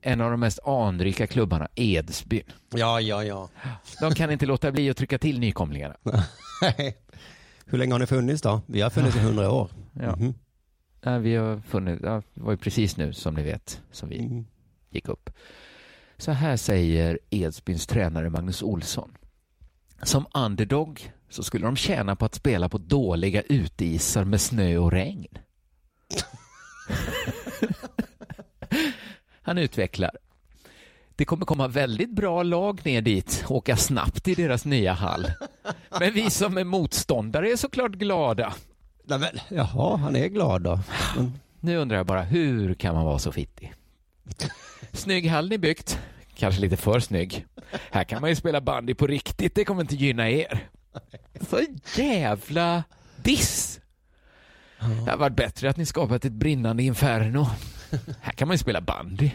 En av de mest anrika klubbarna, Edsbyn. Ja, ja, ja. De kan inte låta bli att trycka till nykomlingarna. Hur länge har ni funnits då? Vi har funnits i hundra år. Ja. Mhm. Nej, vi har funnit, ja, det var ju precis nu som ni vet som vi gick upp. Så här säger Edsbyns tränare Magnus Olsson. Som underdog så skulle de tjäna på att spela på dåliga uteisar med snö och regn. Han utvecklar. Det kommer komma väldigt bra lag ner dit och åka snabbt i deras nya hall. Men vi som är motståndare är såklart glada. Nej, men, jaha, han är glad då. Nu undrar jag bara, hur kan man vara så fittig? Snygg hall ni byggt. Kanske lite för snygg. Här kan man ju spela bandy på riktigt, det kommer inte gynna er. Så jävla diss! Det hade varit bättre att ni skapat ett brinnande inferno. Här kan man ju spela bandy.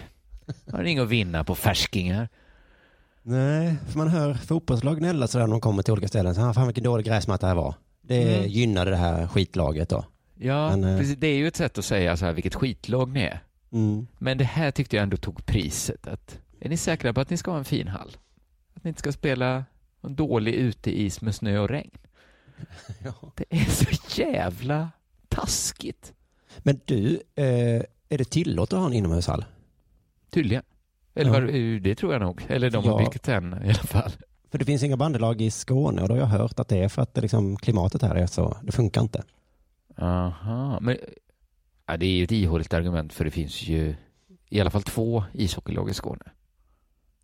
Har ni inget att vinna på färskingar. Nej, för man hör fotbollslag gnälla sådär när de kommer till olika ställen. Så, "Ah, fan vilken dålig gräsmatta det här var. Det Mm. gynnade det här skitlaget då. Ja, Men, eh, precis, det är ju ett sätt att säga så här, vilket skitlag ni är. Men det här tyckte jag ändå tog priset. Att, är ni säkra på att ni ska ha en fin hall? Att ni inte ska spela en dålig uteis med snö och regn? Det är så jävla taskigt. Men du, eh, är det tillåtet att ha en inomhushall? Tydligen. Eller Ja. vad, eh, det tror jag nog. Eller de har Ja. byggt en i alla fall. För det finns inga bandelag i Skåne och då har jag hört att det är för att det liksom, klimatet här är så, det funkar inte. Aha, men ja, det är ju ett ihåligt argument för det finns ju i alla fall två ishockeylag i Skåne.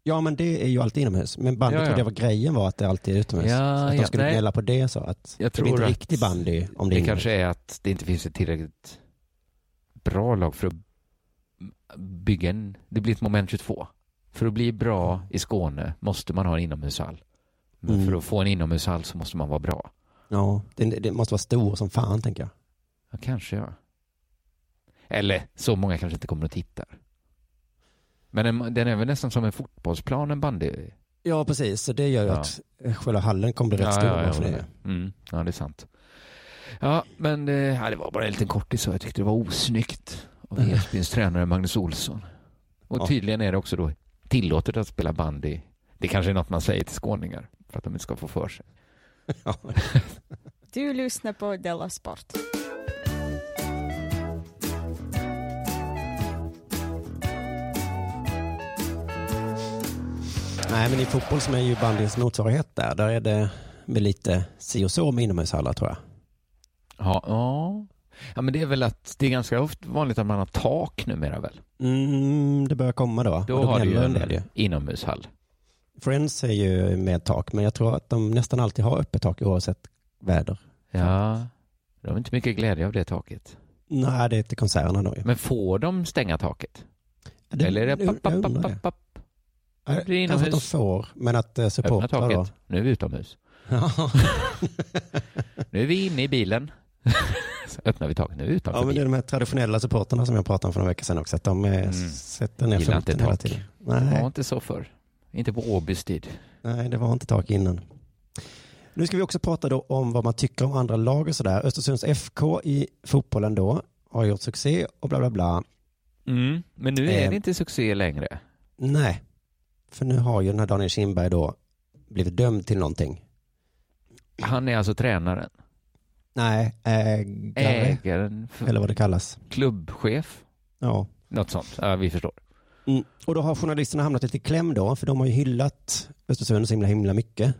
Ja men det är ju alltid inomhus. Men bandy Ja, ja. trodde jag var grejen var att det alltid är utomhus. Ja, så att de ja, skulle nej. gnälla på det så att Jag det tror blir inte att riktig bandy om det, är det inomhus. kanske är att det inte finns ett tillräckligt bra lag för att bygga en... Det blir ett moment 22. För att bli bra i Skåne måste man ha en inomhushall. Men Mm. för att få en inomhushall så måste man vara bra. Ja, det, det måste vara stor som fan tänker jag. Ja, kanske ja. Eller så många kanske inte kommer att titta. Men den, den är väl nästan som en fotbollsplan, en bandy... Ja precis, så det gör ju Ja. att eh, själva hallen kommer bli rätt stor. ja, för jag det. håller med. mm, ja, det är sant. Ja, men eh, ja, det var bara en liten kortis så jag tyckte det var osnyggt av Edsbyns tränare Magnus Olsson. Och Mm. Ja. tydligen är det också då tillåtet att spela bandy. Det kanske är något man säger till skåningar för att de inte ska få för sig. Du lyssnar på Della Sport. Nej men i fotboll som är ju bandyns motsvarighet där, där är det med lite si och så med inomhushallar tror jag. Ja, ja. ja, men det är väl att det är ganska ofta vanligt att man har tak numera väl? Mm, det börjar komma då. Då Och har du ju gnäller en del ju. inomhushall. Friends är ju med tak, men jag tror att de nästan alltid har öppet tak oavsett väder. Ja, de har inte mycket glädje av det taket. Nej, det är till konserterna då ju. Men får de stänga taket? Det- Eller är det jag- papp, papp, jag papp, undrar papp, papp? Nej, Det är Kanske att de inomhus. får, men att eh, Öppna supportrar då. taket. Nu är vi utomhus. Ja. nu är vi inne i bilen. Så öppnar vi taket. Nu är vi utanför Ja, men det är bilen. de här traditionella supporterna som jag pratade om för några veckor sedan också. Att de eh, sätter ner Mm. Gillar inte foten hela tak. tiden. Det Nej. var inte så förr. Inte på Åbys tid. Nej, det var inte tak innan. Nu ska vi också prata då om vad man tycker om andra lag och sådär. Östersunds FK i fotbollen då har gjort succé och bla bla bla. Mm. Men nu är Eh. det inte succé längre. Nej, för nu har ju den här Daniel Kindberg då blivit dömd till någonting. Han är alltså tränaren. Nej, ägare Ägaren. För eller vad det kallas. klubbchef. Ja. Något sånt. Ja, vi förstår. Mm. Och då har journalisterna hamnat lite i kläm då, för de har ju hyllat Östersund så himla himla mycket.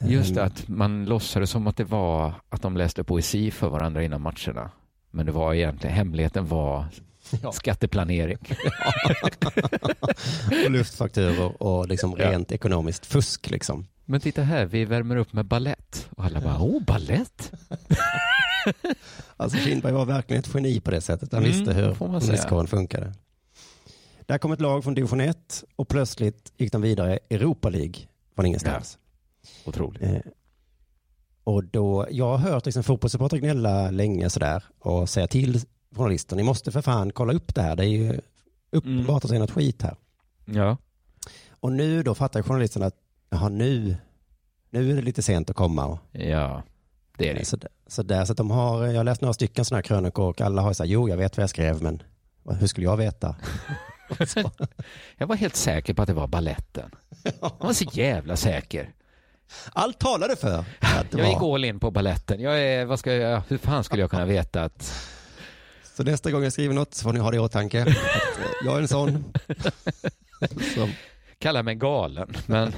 Just Ehm, att man låtsades som att det var att de läste poesi för varandra innan matcherna. Men det var egentligen, hemligheten var skatteplanering. och luftfakturor och liksom rent ekonomiskt fusk liksom. Men titta här, vi värmer upp med ballett. Och alla bara, åh, ballett. Alltså Kindberg var verkligen ett geni på det sättet. Han Mm, visste hur får man säga. journalistkåren funkade. Där kom ett lag från division 1 och plötsligt gick de vidare Europa League från ingenstans. Otroligt. Eh, och då, jag har hört liksom fotbollssupportrar gnälla länge sådär och säga till journalister, ni måste för fan kolla upp det här, det är ju uppenbart Mm. att det är något skit här. Ja. Och nu då fattar journalisterna att, jaha nu, nu är det lite sent att komma. Och, ja, det är det. Så, så, där, så att de har, eh, jag har läst några stycken sådana här krönikor och alla har sagt, jo jag vet vad jag skrev men vad- hur skulle jag veta? jag var helt säker på att det var balletten. Jag var så jävla säker. Allt talade för att det Jag gick var. all in på balletten. Jag är, vad ska jag, hur fan skulle jag kunna veta att... Så nästa gång jag skriver något så får ni ha det i åtanke. Att, eh, jag är en sån. Som, Kalla mig galen, men...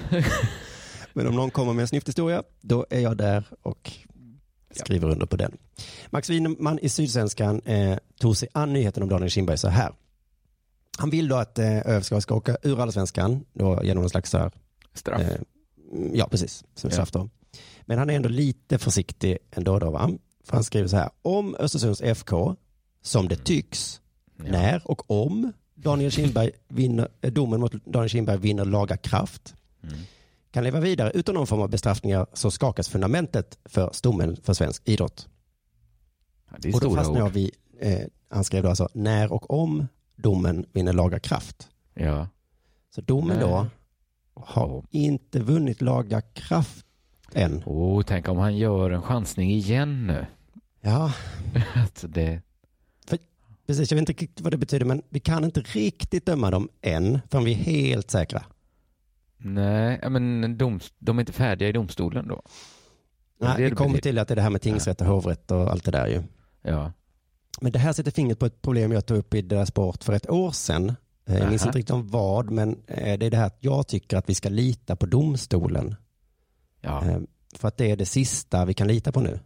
men om någon kommer med en snyfthistoria, då är jag där och skriver under på den. Max Winman i Sydsvenskan eh, tog sig an nyheten om Daniel Kindberg så här. Han vill då att eh, ÖF ska ska åka ur allsvenskan då genom någon slags så här, Straff. eh, mm, ja, precis. Som straff då. Men han är ändå lite försiktig ändå då, va? För han skriver så här. Om Östersunds FK, som Mm. det tycks, när och om Daniel Kindberg vinner, eh, domen mot Daniel Kindberg vinner laga kraft, Mm. kan leva vidare utan någon form av bestraffningar så skakas fundamentet för stommen för svensk idrott. det är och då stora fastnar jag ord. vid, eh, han skrev då alltså när och om domen vinner laga kraft. Ja. Så domen Nej. då har inte vunnit laga kraft än. Åh, Oh, tänk om han gör en chansning igen nu. Ja, Alltså det... precis. Jag vet inte riktigt vad det betyder, men vi kan inte riktigt döma dem än förrän vi är helt säkra. Nej, ja, men doms... de är inte färdiga i domstolen då. Det är Nej, det vi det kommer betyder. till att det är det här med tingsrätt och hovrätt och allt det där ju. Ja. Men det här sätter fingret på ett problem jag tog upp i deras sport för ett år sedan. Eh, Jag minns Aha. inte riktigt om vad, men eh, det är det här att jag tycker att vi ska lita på domstolen. Eh, För att det är det sista vi kan lita på nu.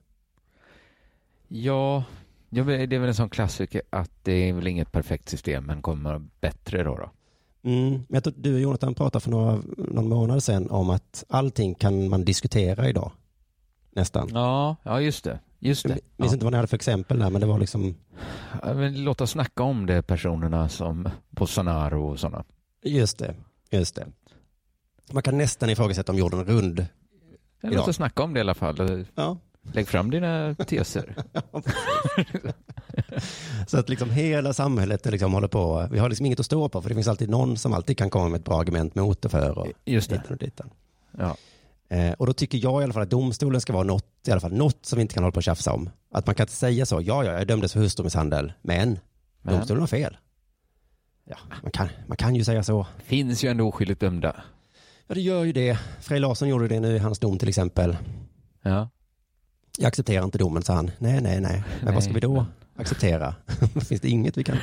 Ja, ja, men det är väl en sån klassiker att det är väl inget perfekt system men kommer bättre då. då. Mm. Men jag tror att du och Jonathan pratade för några, någon månad sedan om att allting kan man diskutera idag. Nästan. Ja, ja just det. Just Jag det. minns inte vad ni hade för exempel där, men det var liksom, Ja, men låt oss snacka om det personerna som Bolsonaro och sådana. just det, just det. Man kan nästan ifrågasätta om jorden är rund. Ja, Idag. Låt oss snacka om det i alla fall. Ja. Lägg fram dina teser. Så att liksom hela samhället är liksom håller på, vi har liksom inget att stå på för det finns alltid någon som alltid kan komma med ett bra argument mot och för och Just det. ditan och ditan. Ja. Eh, och då tycker jag i alla fall att domstolen ska vara något, i alla fall något som vi inte kan hålla på och tjafsa om. Att man kan inte säga så, ja, ja, jag dömdes för hustrumisshandel, men, Men? domstolen har fel. Ja, man kan, man kan ju säga så. Finns ju ändå oskyldigt dömda. Ja, det gör ju det. Frej Larsson gjorde det nu i hans dom till exempel. Ja. Jag accepterar inte domen, sa han. Nej, nej, nej. Men Nej, vad ska vi då acceptera? Finns det inget vi kan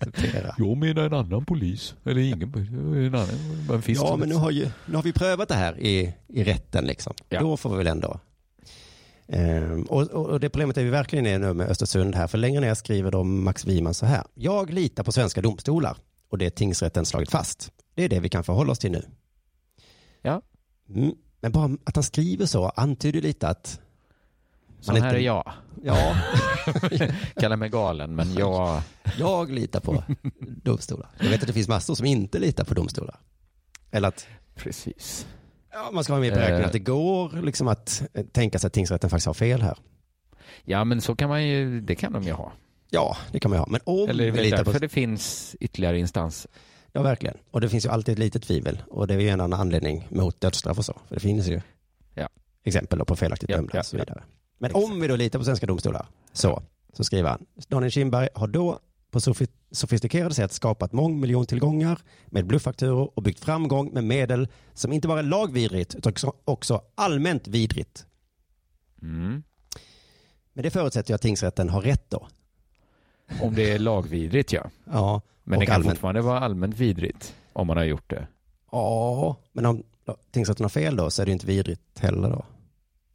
acceptera? Jag menar en annan polis. Eller ingen En annan. Men ja, men nu har, ju, nu har vi prövat det här i, i rätten liksom. Ja. Då får vi väl ändå. Ehm, och, och och det problemet är vi verkligen är nu med Östersund här, för längre ner skriver de Max Wiman så här. Jag litar på svenska domstolar och det är tingsrätten slagit fast. Det är det vi kan förhålla oss till nu. Ja. Mm. Men bara att han skriver så antyder lite att... Så man här inte- är jag. Ja, Kallar mig galen men jag... jag litar på domstolar. Jag vet att det finns massor som inte litar på domstolar. Eller att Precis. Ja, man ska ha med i beräkningen Eh. att det går liksom att eh, tänka sig att tingsrätten faktiskt har fel här. Ja men så kan man ju, det kan de ju ha. Ja, det kan man ju ha. Men om Eller det är vi väl litar därför på... det finns ytterligare instans. Ja, verkligen. Och det finns ju alltid ett litet tvivel. Och det är ju en annan anledning mot dödsstraff och så. För det finns ju Ja. exempel då på felaktigt Ja, dömda ja, och så ja. vidare. Men om vi då litar på svenska domstolar, så, så skriver han. Daniel Kindberg har då på sofi- sofistikerade sätt skapat mångmiljontillgångar med bluffakturor och byggt framgång med medel som inte bara är lagvidrigt utan också- också allmänt vidrigt. Mm. Men det förutsätter ju att tingsrätten har rätt då. Om det är lagvidrigt ja. Ja, Men och det kan allmänt. fortfarande vara allmänt vidrigt om man har gjort det. Ja, men om ja, tingsrätten har fel då så är det ju inte vidrigt heller då.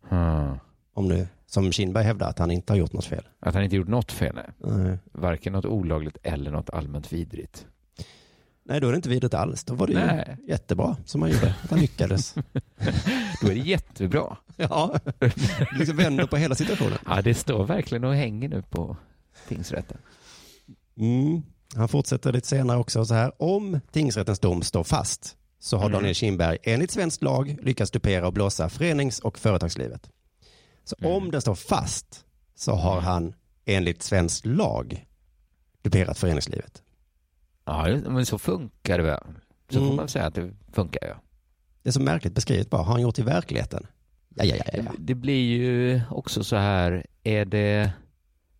Ah. Hmm. Om nu, som Kindberg hävdar, att han inte har gjort något fel. Att han inte gjort något fel, nej. Nej. varken något olagligt eller något allmänt vidrigt. Nej, då är det inte vidrigt alls. Då var det Nej. ju jättebra som han gjorde, att han lyckades. Då är det jättebra. ja, liksom vänder på hela situationen. Ja, det står verkligen och hänger nu på tingsrätten. Mm. Han fortsätter lite senare också så här. Om tingsrättens dom står fast så har Mm. Daniel Kindberg enligt svensk lag lyckats dupera och blåsa förenings och företagslivet. Så om den står fast så har han enligt svensk lag duperat föreningslivet. Ja, det- men så funkar det väl? Så Mm. får man säga att det funkar ja. Det är så märkligt beskrivet bara. Har han gjort i verkligheten? Ja, ja, ja, ja. Det, det blir ju också så här, är det,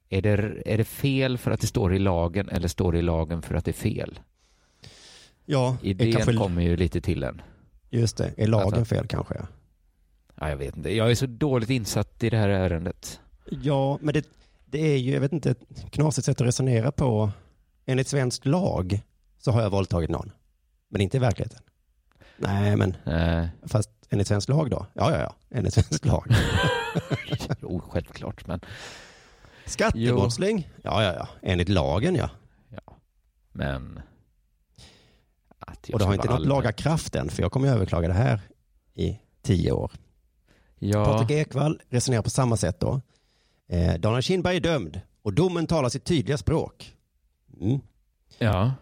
är, det, är det fel för att det står i lagen eller står det i lagen för att det är fel? Ja, Idén är kanske- kommer ju lite till en. Just det, är lagen Alltså- fel kanske? ja. Ja, jag vet inte. Jag är så dåligt insatt i det här ärendet. Ja, men det, det är ju, jag vet inte, ett knasigt sätt att resonera på. Enligt svensk lag så har jag våldtagit någon, men inte i verkligheten. Nej, men Eh, fast enligt svensk lag då? Ja, ja, ja, enligt svensk lag. jo, självklart, men... Skattebrottsling? Ja, ja, ja, enligt lagen ja. Men... jag Och det har ska inte vara nått laga kraft än, för jag kommer ju överklaga det här i tio år. Ja. Patrik Ekwall resonerar på samma sätt då. Eh, Daniel Kindberg är dömd och domen talar sitt tydliga språk. Mm. Ja.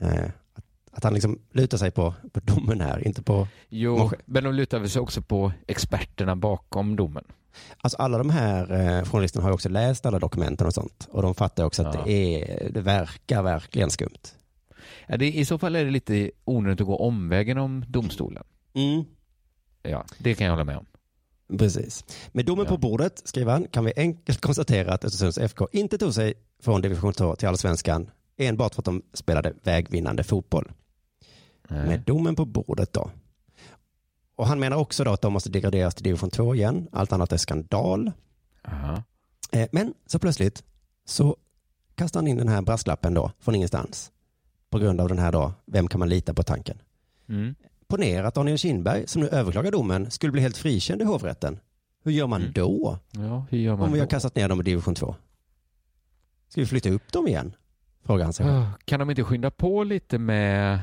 Eh, att, att han liksom lutar sig på, på domen här, inte på... Jo, men de lutar väl sig också på experterna bakom domen. Alltså alla de här eh, journalisterna har ju också läst alla dokumenten och sånt. Och de fattar också att Ja. det, är, det verkar verkligen skumt. Ja, det, I så fall är det lite onödigt att gå omvägen om domstolen. Ja, det kan jag hålla med om. Precis. Med domen på bordet, skriver han, kan vi enkelt konstatera att Östersunds FK inte tog sig från division 2 till allsvenskan enbart för att de spelade vägvinnande fotboll. Eh, Med domen på bordet då. Och han menar också då att de måste degraderas till division 2 igen. Allt annat är skandal. Eh, Men så plötsligt så kastar han in den här brasklappen då från ingenstans. På grund av den här då, vem kan man lita på tanken? Mm. Ponera att Daniel Kindberg, som nu överklagar domen, skulle bli helt frikänd i hovrätten. Mm. Hur gör man då? Ja, hur gör man Om vi har då? kastat ner dem i division 2? Ska vi flytta upp dem igen? Frågar han sig. själv. Ah, Kan de inte skynda på lite med,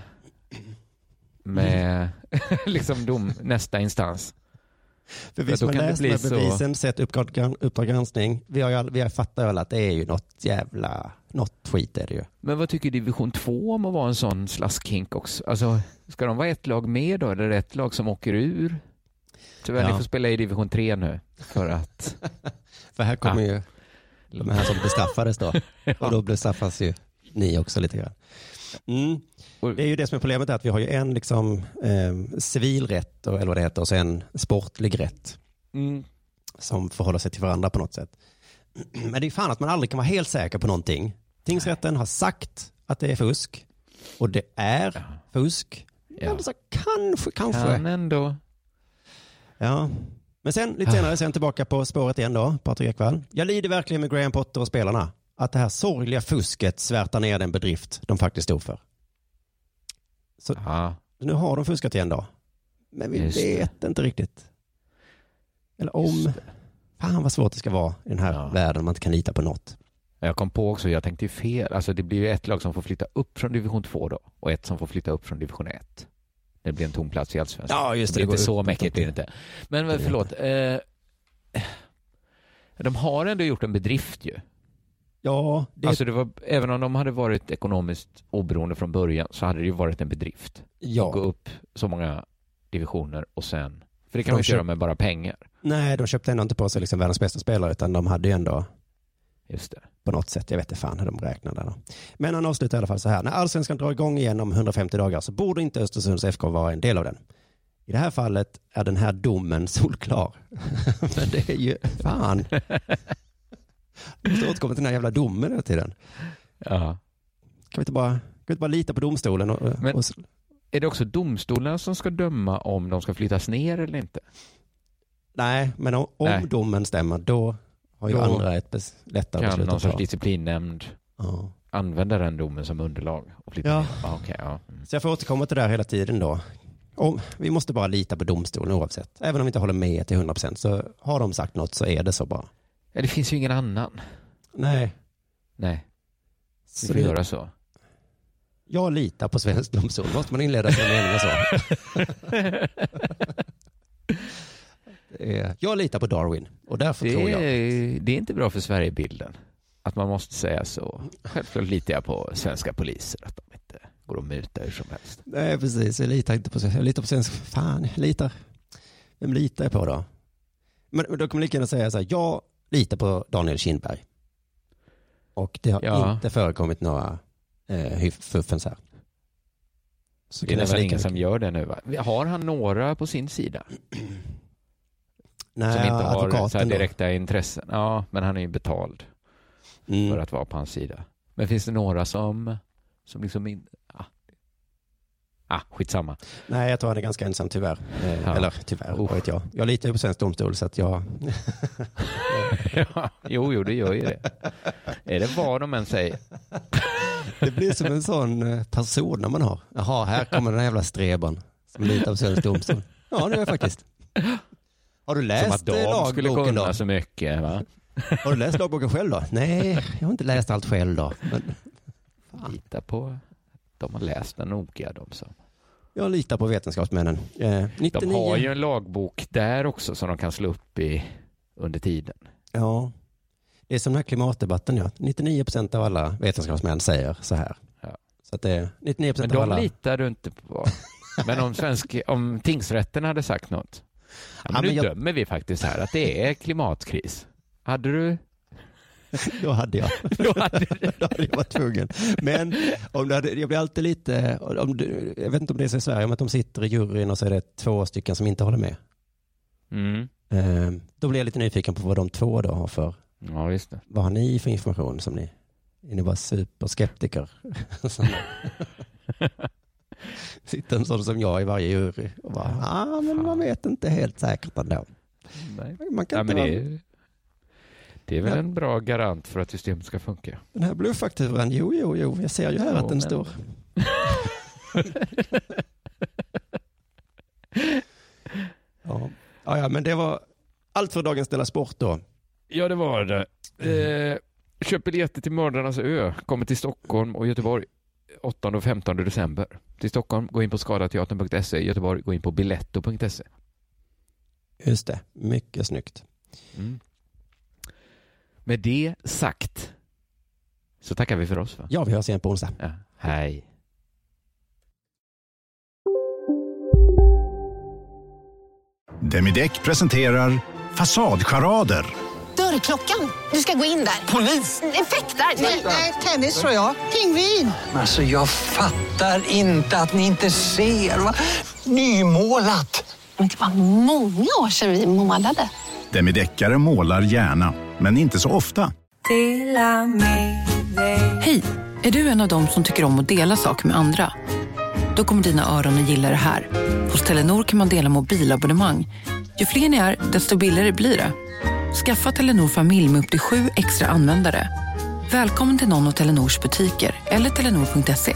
med liksom dom, nästa instans? För vi som har läst de här bevisen, sett Uppdrag gran- Uppdrag granskning, vi, har ju all, vi har fattar ju alla att det är ju något jävla, något skit är det ju. Men vad tycker division 2 om att vara en sån slaskhink också? Alltså, ska de vara ett lag med då, eller ett lag som åker ur? Tyvärr, Ja. ni får spela i division 3 nu för att... För här kommer ju de här som bestraffades då. Och då bestraffas ju ni också lite grann. Mm. Det är ju det som är problemet, att vi har ju en liksom, eh, civilrätt, och- eller vad det heter, och sen sportlig rätt. Mm. Som förhåller sig till varandra på något sätt. Men det är ju fan att man aldrig kan vara helt säker på någonting. Tingsrätten har sagt att det är fusk, och det är fusk. Men så kanske, kanske. Kan ändå. Ja. Men sen, lite senare, sen tillbaka på spåret igen då, Patrik Ekwall. Jag lider verkligen med Graham Potter och spelarna. Att det här sorgliga fusket svärtar ner den bedrift de faktiskt stod för. Så nu har de fuskat igen då. Men vi Just det. vet inte riktigt. Eller om. Fan vad svårt det ska vara i den här världen man inte kan lita på något. Jag kom på också, jag tänkte ju fel. Alltså det blir ju ett lag som får flytta upp från division 2 då och ett som får flytta upp från division 1. Det blir en tom plats i allsvenskan. Ja, just Alltså, det det. Det blir inte går så upp- mäckigt blir det inte. Men vad- förlåt. Eh, de har ändå gjort en bedrift ju. Ja, det- Alltså det var, även om de hade varit ekonomiskt oberoende från början så hade det ju varit en bedrift. Ja. Att gå upp så många divisioner och sen... För det kan De man ju inte kör- göra med bara pengar. Nej, de köpte ändå inte på sig liksom världens bästa spelare utan de hade ju ändå Just det. på något sätt, jag vet inte fan hur de räknade. Då. Men han avslutar i alla fall så här, när allsvenskan drar igång igen om 150 dagar så borde inte Östersunds FK vara en del av den. I det här fallet är den här domen solklar. Men det är ju, fan. Jag måste återkomma till den här jävla domen hela tiden. Ja. Kan vi inte bara, kan vi inte bara lita på domstolen? Och, och, Men är det också domstolarna som ska döma om de ska flyttas ner eller inte? nej, men om, om Nej. domen stämmer då har ju Då andra ett bes, lättare Kan beslut någon att sorts ta. disciplinnämnd Ja. använda den domen som underlag? Och flytta Ja. ner? Ja, okej, ja. Mm. Så jag får återkomma till det här hela tiden då. Om, vi måste bara lita på domstolen oavsett. Även om vi inte håller med till 100% så har de sagt något så är det så bara. ja, det finns ju ingen annan. Nej. Nej. Vi Så får det- göra så. Jag litar på svensk domstol. Måste man inleda sina meningar så? Det är- jag litar på Darwin och därför Det tror Eh, jag. är, det är inte bra för Sverigebilden. att man måste säga så. Självklart litar jag på svenska poliser, att de inte går och mutar hur som helst. Nej, precis. Jag litar inte på svensk. Jag litar på svensk. Fan, jag litar. Vem litar jag på då? Men då kan man lika gärna säga så här, jag litar på Daniel Kindberg. Och det har Ja. inte förekommit några eh, hyf- fuffens här. Så det är kan nästan vara ingen lika- som gör det nu, va? Har han några på sin sida? Nej, som inte har så här advokaten då. direkta intressen? Ja, men han är ju betald Mm. för att vara på hans sida. Men finns det några som, som liksom inte... Ah. ah, skitsamma. Nej, jag tror han är ganska ensam tyvärr. Eh, Ja. Eller tyvärr, vad vet jag. Jag litar ju på svensk domstol så att jag... ja, jo, jo, det gör ju det. Är det vad de än säger? Det blir som en sån eh, persona man har. Jaha, här kommer den här jävla streben som litar på svensk domstol. Ja, det gör jag faktiskt. Har du Som läst att de eh, skulle lagboken kunna då? så mycket. Va? Har du läst lagboken själv då? Nej, jag har inte läst allt själv då. Men Lita på de har läst den noga, de som. jag litar på vetenskapsmännen. Eh, 99. De har ju en lagbok där också som de kan slå upp i under tiden. Ja. Det är som den här klimatdebatten, ja. 99 procent av alla vetenskapsmän säger så här. Så att det är 99 Men procent av de alla... litar du inte på. Men om, svensk, om tingsrätten hade sagt något. Ja, men Ja, nu men jag- dömer vi faktiskt här att det är klimatkris. Hade du? Då hade jag. Då hade, då hade jag varit tvungen. Men om det hade, jag blir alltid lite, om du, jag vet inte om det är så i Sverige, men att de sitter i juryn och så är det två stycken som inte håller med. Mm. Eh, Då blir jag lite nyfiken på vad de två då har för, Ja, visst det. vad har ni för information som ni, är ni bara superskeptiker? Som- Sitter en sån som jag i varje jury och bara, ah, men man vet inte helt säkert ändå. Nej. Man kan ja, inte men det, vara- är, det är väl Ja. en bra garant för att systemet ska funka. Den här bluffakturan, jo, jo, jo, jag ser ju här Jo, att den men- står. ja. Ja, ja, men det var allt för dagens Della Sport då. Ja, det var det. Eh, köp biljetter till Mördarnas ö. Kommer till Stockholm och Göteborg 8 och 15 december. Till Stockholm, gå in på skadateatern.se. I Göteborg, gå in på biletto.se. Just det, mycket snyggt. Mm. Med det sagt så tackar vi för oss. Va? Ja, vi hörs igen på onsdag. Ja. Hej. Demideck presenterar Fasadcharader. Dörrklockan. Du ska gå in där. Polis? Effektar? Nej, tennis tror jag. Pingvin. Alltså jag fattar inte att ni inte ser. Va? Nymålat. Men det var många år sedan vi målade. Demideckare målar gärna, men inte så ofta. Hej! Är du en av dem som tycker om att dela saker med andra? Då kommer dina öron att gilla det här. Hos Telenor kan man dela mobilabonnemang. Ju fler ni är, desto billigare blir det. Skaffa Telenor familj med upp till sju extra användare. Välkommen till någon av Telenors butiker eller telenor.se.